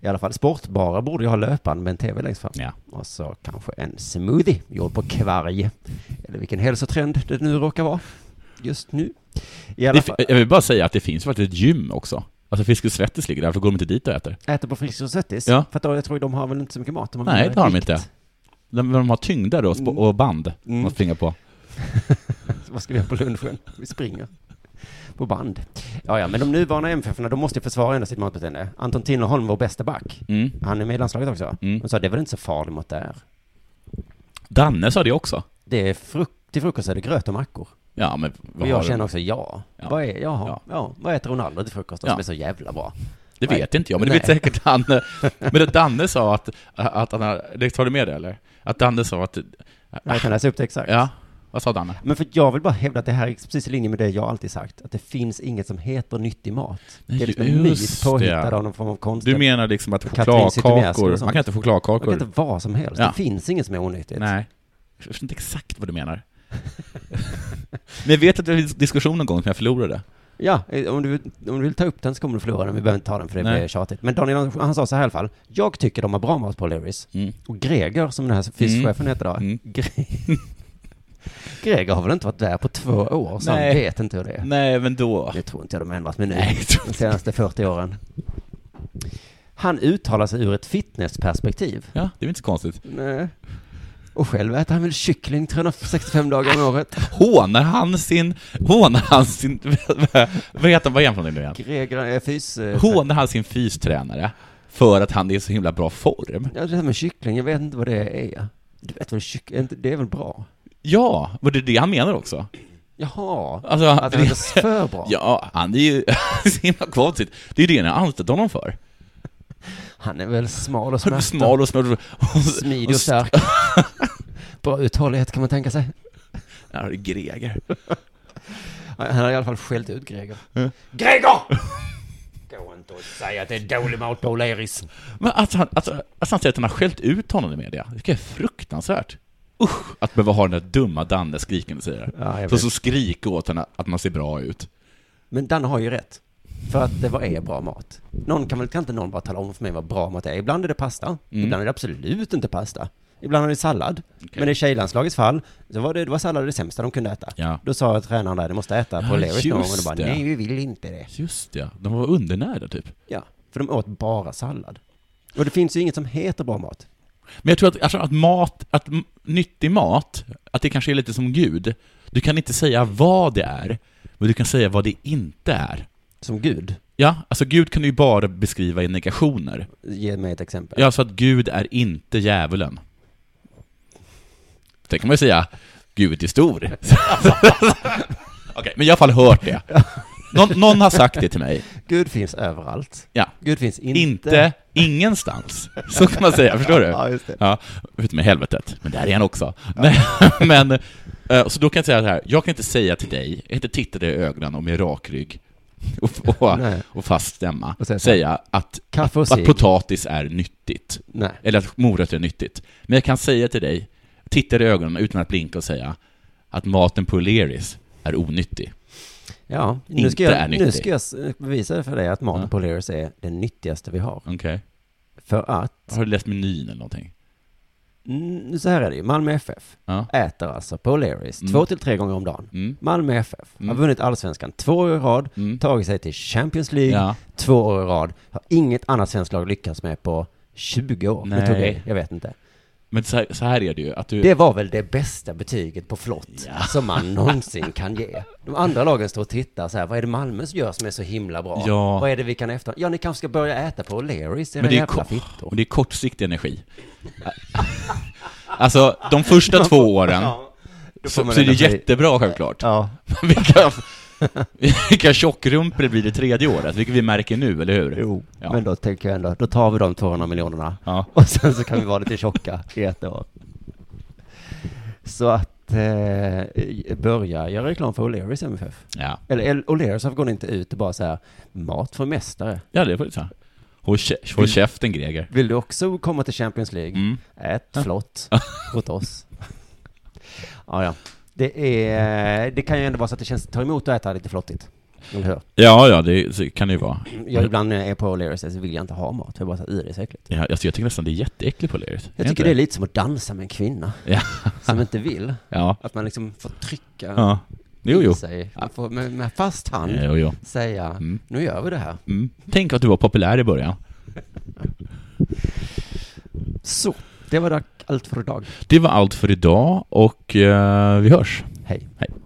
[SPEAKER 3] I alla fall, sportbarer borde ju ha löpband med en tv längst fram.
[SPEAKER 2] Ja.
[SPEAKER 3] Och så kanske en smoothie gjord på kvarg. Eller vilken hälsotrend det nu råkar vara. Just nu. I alla
[SPEAKER 2] Det,
[SPEAKER 3] fall,
[SPEAKER 2] fi- jag vill bara säga att det finns faktiskt ett gym också. Alltså Fiskes Svettis ligger där, för går de inte dit och äter?
[SPEAKER 3] äter på Friskis och Svettis.
[SPEAKER 2] Ja.
[SPEAKER 3] För att då, jag tror de har väl inte så mycket mat. De
[SPEAKER 2] Nej,
[SPEAKER 3] mer
[SPEAKER 2] det har de
[SPEAKER 3] vikt.
[SPEAKER 2] inte. De, de har tyngder och, sp-
[SPEAKER 3] Mm.
[SPEAKER 2] och band
[SPEAKER 3] Mm.
[SPEAKER 2] man springer på.
[SPEAKER 3] Vad ska vi göra på lunchen? Vi springer. På band. Ja, ja, men de nuvarande MFF-erna, de måste ju försvara ändå sitt matbeteende. Anton Tinnerholm, vår bästa back,
[SPEAKER 2] Mm.
[SPEAKER 3] han är med i landslaget också.
[SPEAKER 2] Mm.
[SPEAKER 3] Han sa, det var inte så farligt mot där.
[SPEAKER 2] Danne sa det också.
[SPEAKER 3] Det är fruk- till frukost är det gröt och mackor.
[SPEAKER 2] Ja, men
[SPEAKER 3] Och
[SPEAKER 2] vad har
[SPEAKER 3] jag
[SPEAKER 2] de?
[SPEAKER 3] känner också, ja.
[SPEAKER 2] Ja.
[SPEAKER 3] Vad är, jaha,
[SPEAKER 2] Ja.
[SPEAKER 3] ja. vad äter Ronaldo till frukost då
[SPEAKER 2] Ja.
[SPEAKER 3] som är så jävla bra?
[SPEAKER 2] Det vet inte jag, men det
[SPEAKER 3] Nej.
[SPEAKER 2] vet säkert Danne. Men det Danne sa att, att han har, det tar du med det eller? Att Danne sa att,
[SPEAKER 3] Jag kan läsa upp det exakt.
[SPEAKER 2] ja, vad sa Danne?
[SPEAKER 3] Men för att jag vill bara hävda att det här är precis i linje med det jag alltid sagt, att det finns inget som heter nyttig mat. Det är liksom en myt
[SPEAKER 2] Just det.
[SPEAKER 3] påhittad av någon form av konst.
[SPEAKER 2] Du menar liksom att
[SPEAKER 3] Katrin Zytomierska och
[SPEAKER 2] chokladkakor,
[SPEAKER 3] sånt.
[SPEAKER 2] man kan inte få
[SPEAKER 3] Man kan
[SPEAKER 2] chokladkakor?
[SPEAKER 3] inte vara som helst.
[SPEAKER 2] Ja.
[SPEAKER 3] Det finns inget som är onyttigt.
[SPEAKER 2] Nej. Jag förstår inte exakt vad du menar. men jag vet att det var en diskussion någon gång som jag förlorade.
[SPEAKER 3] Ja, eh, om du, vill- om du vill ta upp den så kommer du förlora den. Vi behöver inte ta den för det
[SPEAKER 2] Nej.
[SPEAKER 3] blir tjatigt. Men Daniel Andersson, han sa så här i alla fall. Jag tycker de har bra mat på O'Learys.
[SPEAKER 2] Mm.
[SPEAKER 3] Och Greger, som den här fyschefen heter då.
[SPEAKER 2] Mm.
[SPEAKER 3] Gre- Greger har väl inte varit där på två år, så
[SPEAKER 2] Nej.
[SPEAKER 3] han vet inte hur det är.
[SPEAKER 2] Nej, men då...
[SPEAKER 3] Det tror inte jag de har ändrat med nu.
[SPEAKER 2] Nej, jag tror
[SPEAKER 3] de senaste 40 åren. Han uttalar sig ur ett fitnessperspektiv.
[SPEAKER 2] Ja, det är väl inte så konstigt.
[SPEAKER 3] Nej. Och själv äter han väl kyckling 365 dagar om året.
[SPEAKER 2] Hånar han sin... Hånar han sin... vad heter han? Vad är han för någonting nu igen?
[SPEAKER 3] Greger är fys... eh,
[SPEAKER 2] Hånar han sin fystränare för att han är i så himla bra form?
[SPEAKER 3] Ja, det här med kyckling, jag vet inte vad det är. Du vet väl kyckling, är inte- det är väl bra?
[SPEAKER 2] Ja, var det är det han menar också?
[SPEAKER 3] Jaha,
[SPEAKER 2] Alltså,
[SPEAKER 3] att det är inte för bra.
[SPEAKER 2] Ja, han är ju så himla konstigt. Det är ju det ni har anställt honom för.
[SPEAKER 3] Han är väl smal och
[SPEAKER 2] Han är
[SPEAKER 3] smärt
[SPEAKER 2] Smal och smal och...
[SPEAKER 3] smidig och stark. bra uthållighet kan man tänka sig.
[SPEAKER 2] Ja, det är Greger.
[SPEAKER 3] Han har i alla fall skällt ut Greger. Greger! Gå inte.
[SPEAKER 9] inte och säga att det är dålig mat på O'Learys.
[SPEAKER 2] Men att han, att, att han säger att han har skällt ut honom i media, det är fruktansvärt. Usch, att behöva ha den där dumma Danne skrikande säger.
[SPEAKER 3] Ja, jag
[SPEAKER 2] Så,
[SPEAKER 3] vet.
[SPEAKER 2] så skriker åt henne att man ser bra ut.
[SPEAKER 3] Men Danne har ju rätt. För att det var är bra mat. Någon kan väl kan inte någon bara tala om för mig vad bra mat är. Ibland är det pasta,
[SPEAKER 2] Mm.
[SPEAKER 3] ibland är det absolut inte pasta. Ibland är det sallad. Men i tjejlandslagets fall, så var det, det var sallad det sämsta de kunde äta.
[SPEAKER 2] Ja.
[SPEAKER 3] Då sa tränaren där, du måste äta på
[SPEAKER 2] Ja,
[SPEAKER 3] O'Learys någon gång. Och
[SPEAKER 2] just
[SPEAKER 3] de bara,
[SPEAKER 2] det.
[SPEAKER 3] nej vi vill inte det.
[SPEAKER 2] Just ja, de var undernärda typ.
[SPEAKER 3] Ja, för de åt bara sallad. Och det finns ju inget som heter bra mat.
[SPEAKER 2] Men jag tror att, alltså, att mat, att m- nyttig mat, att det kanske är lite som Gud. Du kan inte säga vad det är, men du kan säga vad det inte är.
[SPEAKER 3] Som Gud.
[SPEAKER 2] Ja, alltså Gud kan du ju bara beskriva i negationer.
[SPEAKER 3] Ge mig ett exempel.
[SPEAKER 2] Ja, så att Gud är inte djävulen. Det kan man ju säga, Gud är stor. Okej, men jag har i alla fall hört det. Någon, någon har sagt det till mig.
[SPEAKER 3] Gud finns överallt.
[SPEAKER 2] Ja.
[SPEAKER 3] Gud finns inte.
[SPEAKER 2] Inte ingenstans. Så kan man säga, förstår du?
[SPEAKER 3] Ja, just det.
[SPEAKER 2] Ja, utom i helvetet. Men där är han också. Men, men, eh, så då kan jag säga så här, jag kan inte säga till dig, jag kan inte titta dig i ögonen och med rak rygg och, och,
[SPEAKER 3] Nej.
[SPEAKER 2] och fast stämma,
[SPEAKER 3] Och säga så här,
[SPEAKER 2] säga att,
[SPEAKER 3] Kaffe och
[SPEAKER 2] att
[SPEAKER 3] cigg.
[SPEAKER 2] potatis är nyttigt.
[SPEAKER 3] Nej.
[SPEAKER 2] Eller att morötter är nyttigt. Men jag kan säga till dig, titta dig i ögonen utan att blinka och säga att maten på O'Learys är onyttig.
[SPEAKER 3] Ja, nu
[SPEAKER 2] Inte
[SPEAKER 3] ska,
[SPEAKER 2] är
[SPEAKER 3] jag,
[SPEAKER 2] nyttig.
[SPEAKER 3] nu ska jag s- bevisa för dig att maten
[SPEAKER 2] Ja. Mm.
[SPEAKER 3] på O'Learys är den nyttigaste vi har.
[SPEAKER 2] Okej.
[SPEAKER 3] För att,
[SPEAKER 2] Har du läst menyn eller någonting?
[SPEAKER 3] mm, så här är det ju, Malmö FF
[SPEAKER 2] Ja.
[SPEAKER 3] äter alltså på O'Learys
[SPEAKER 2] Mm.
[SPEAKER 3] två till tre gånger om dagen.
[SPEAKER 2] Mm.
[SPEAKER 3] Malmö FF
[SPEAKER 2] Mm.
[SPEAKER 3] har vunnit allsvenskan två år i rad,
[SPEAKER 2] Mm.
[SPEAKER 3] tagit sig till Champions League
[SPEAKER 2] Ja.
[SPEAKER 3] två år i rad, har inget annat svenskt lag lyckats med på 20 år.
[SPEAKER 2] Nej.
[SPEAKER 3] Nej. Tog jag vet inte.
[SPEAKER 2] Men så här, så här är det ju, att du...
[SPEAKER 3] Det var väl det bästa betyget på flott som man någonsin kan ge. De andra lagen står och tittar så här, vad är det Malmö gör som är så himla bra?
[SPEAKER 2] Ja.
[SPEAKER 3] Vad är det vi kan efter? Ja, ni kanske ska börja äta på O'Learys,
[SPEAKER 2] Men
[SPEAKER 3] era
[SPEAKER 2] det, är
[SPEAKER 3] jävla
[SPEAKER 2] ko-
[SPEAKER 3] fittor.
[SPEAKER 2] och det är kortsiktig energi. alltså, de första två åren
[SPEAKER 3] Då får
[SPEAKER 2] så,
[SPEAKER 3] man
[SPEAKER 2] så är det
[SPEAKER 3] ändå bli-
[SPEAKER 2] jättebra självklart.
[SPEAKER 3] Ja,
[SPEAKER 2] vilka, vilka tjockrumpor det blir det tredje året, vilket vi märker nu, eller hur?
[SPEAKER 3] jo.
[SPEAKER 2] Ja.
[SPEAKER 3] Men då tänker jag ändå, då tar vi de 200 miljonerna.
[SPEAKER 2] Ja.
[SPEAKER 3] Och sen så kan vi vara lite tjocka i ett år. Så att eh, börja göra reklam för O'Learys MFF.
[SPEAKER 2] Ja,
[SPEAKER 3] Eller O'Learys varför går ni inte ut och bara så här, mat för mästare.
[SPEAKER 2] ja det får du säga. Håll kä- håll käften Greger.
[SPEAKER 3] Vill du också komma till Champions League?
[SPEAKER 2] Mm.
[SPEAKER 3] Ät flott åt oss. ja, ja. Det, är, det kan ju ändå vara så att det känns, ta emot att äta lite flottigt. Eller hur?
[SPEAKER 2] Ja, ja, det så kan det ju vara.
[SPEAKER 3] Jag ibland när jag är på O'Learys så vill jag inte ha mat, jag bara så här, "Ih, det är så äckligt.
[SPEAKER 2] Ja, alltså, jag tycker nästan det är jätteäckligt på Leris.
[SPEAKER 3] Jag tycker det är lite som att dansa med en kvinna
[SPEAKER 2] Ja,
[SPEAKER 3] som inte vill.
[SPEAKER 2] ja.
[SPEAKER 3] Att man liksom får trycka
[SPEAKER 2] ja. Jo, jo. Eh,
[SPEAKER 3] i sig. Man får med, med fast hand
[SPEAKER 2] Jo, jo.
[SPEAKER 3] säga,
[SPEAKER 2] Mm.
[SPEAKER 3] nu gör vi det här.
[SPEAKER 2] Mm. Tänk att du var populär i början.
[SPEAKER 3] Så, det var dock allt för idag.
[SPEAKER 2] Det var allt för idag och eh, vi hörs.
[SPEAKER 3] Hej.
[SPEAKER 2] Hej.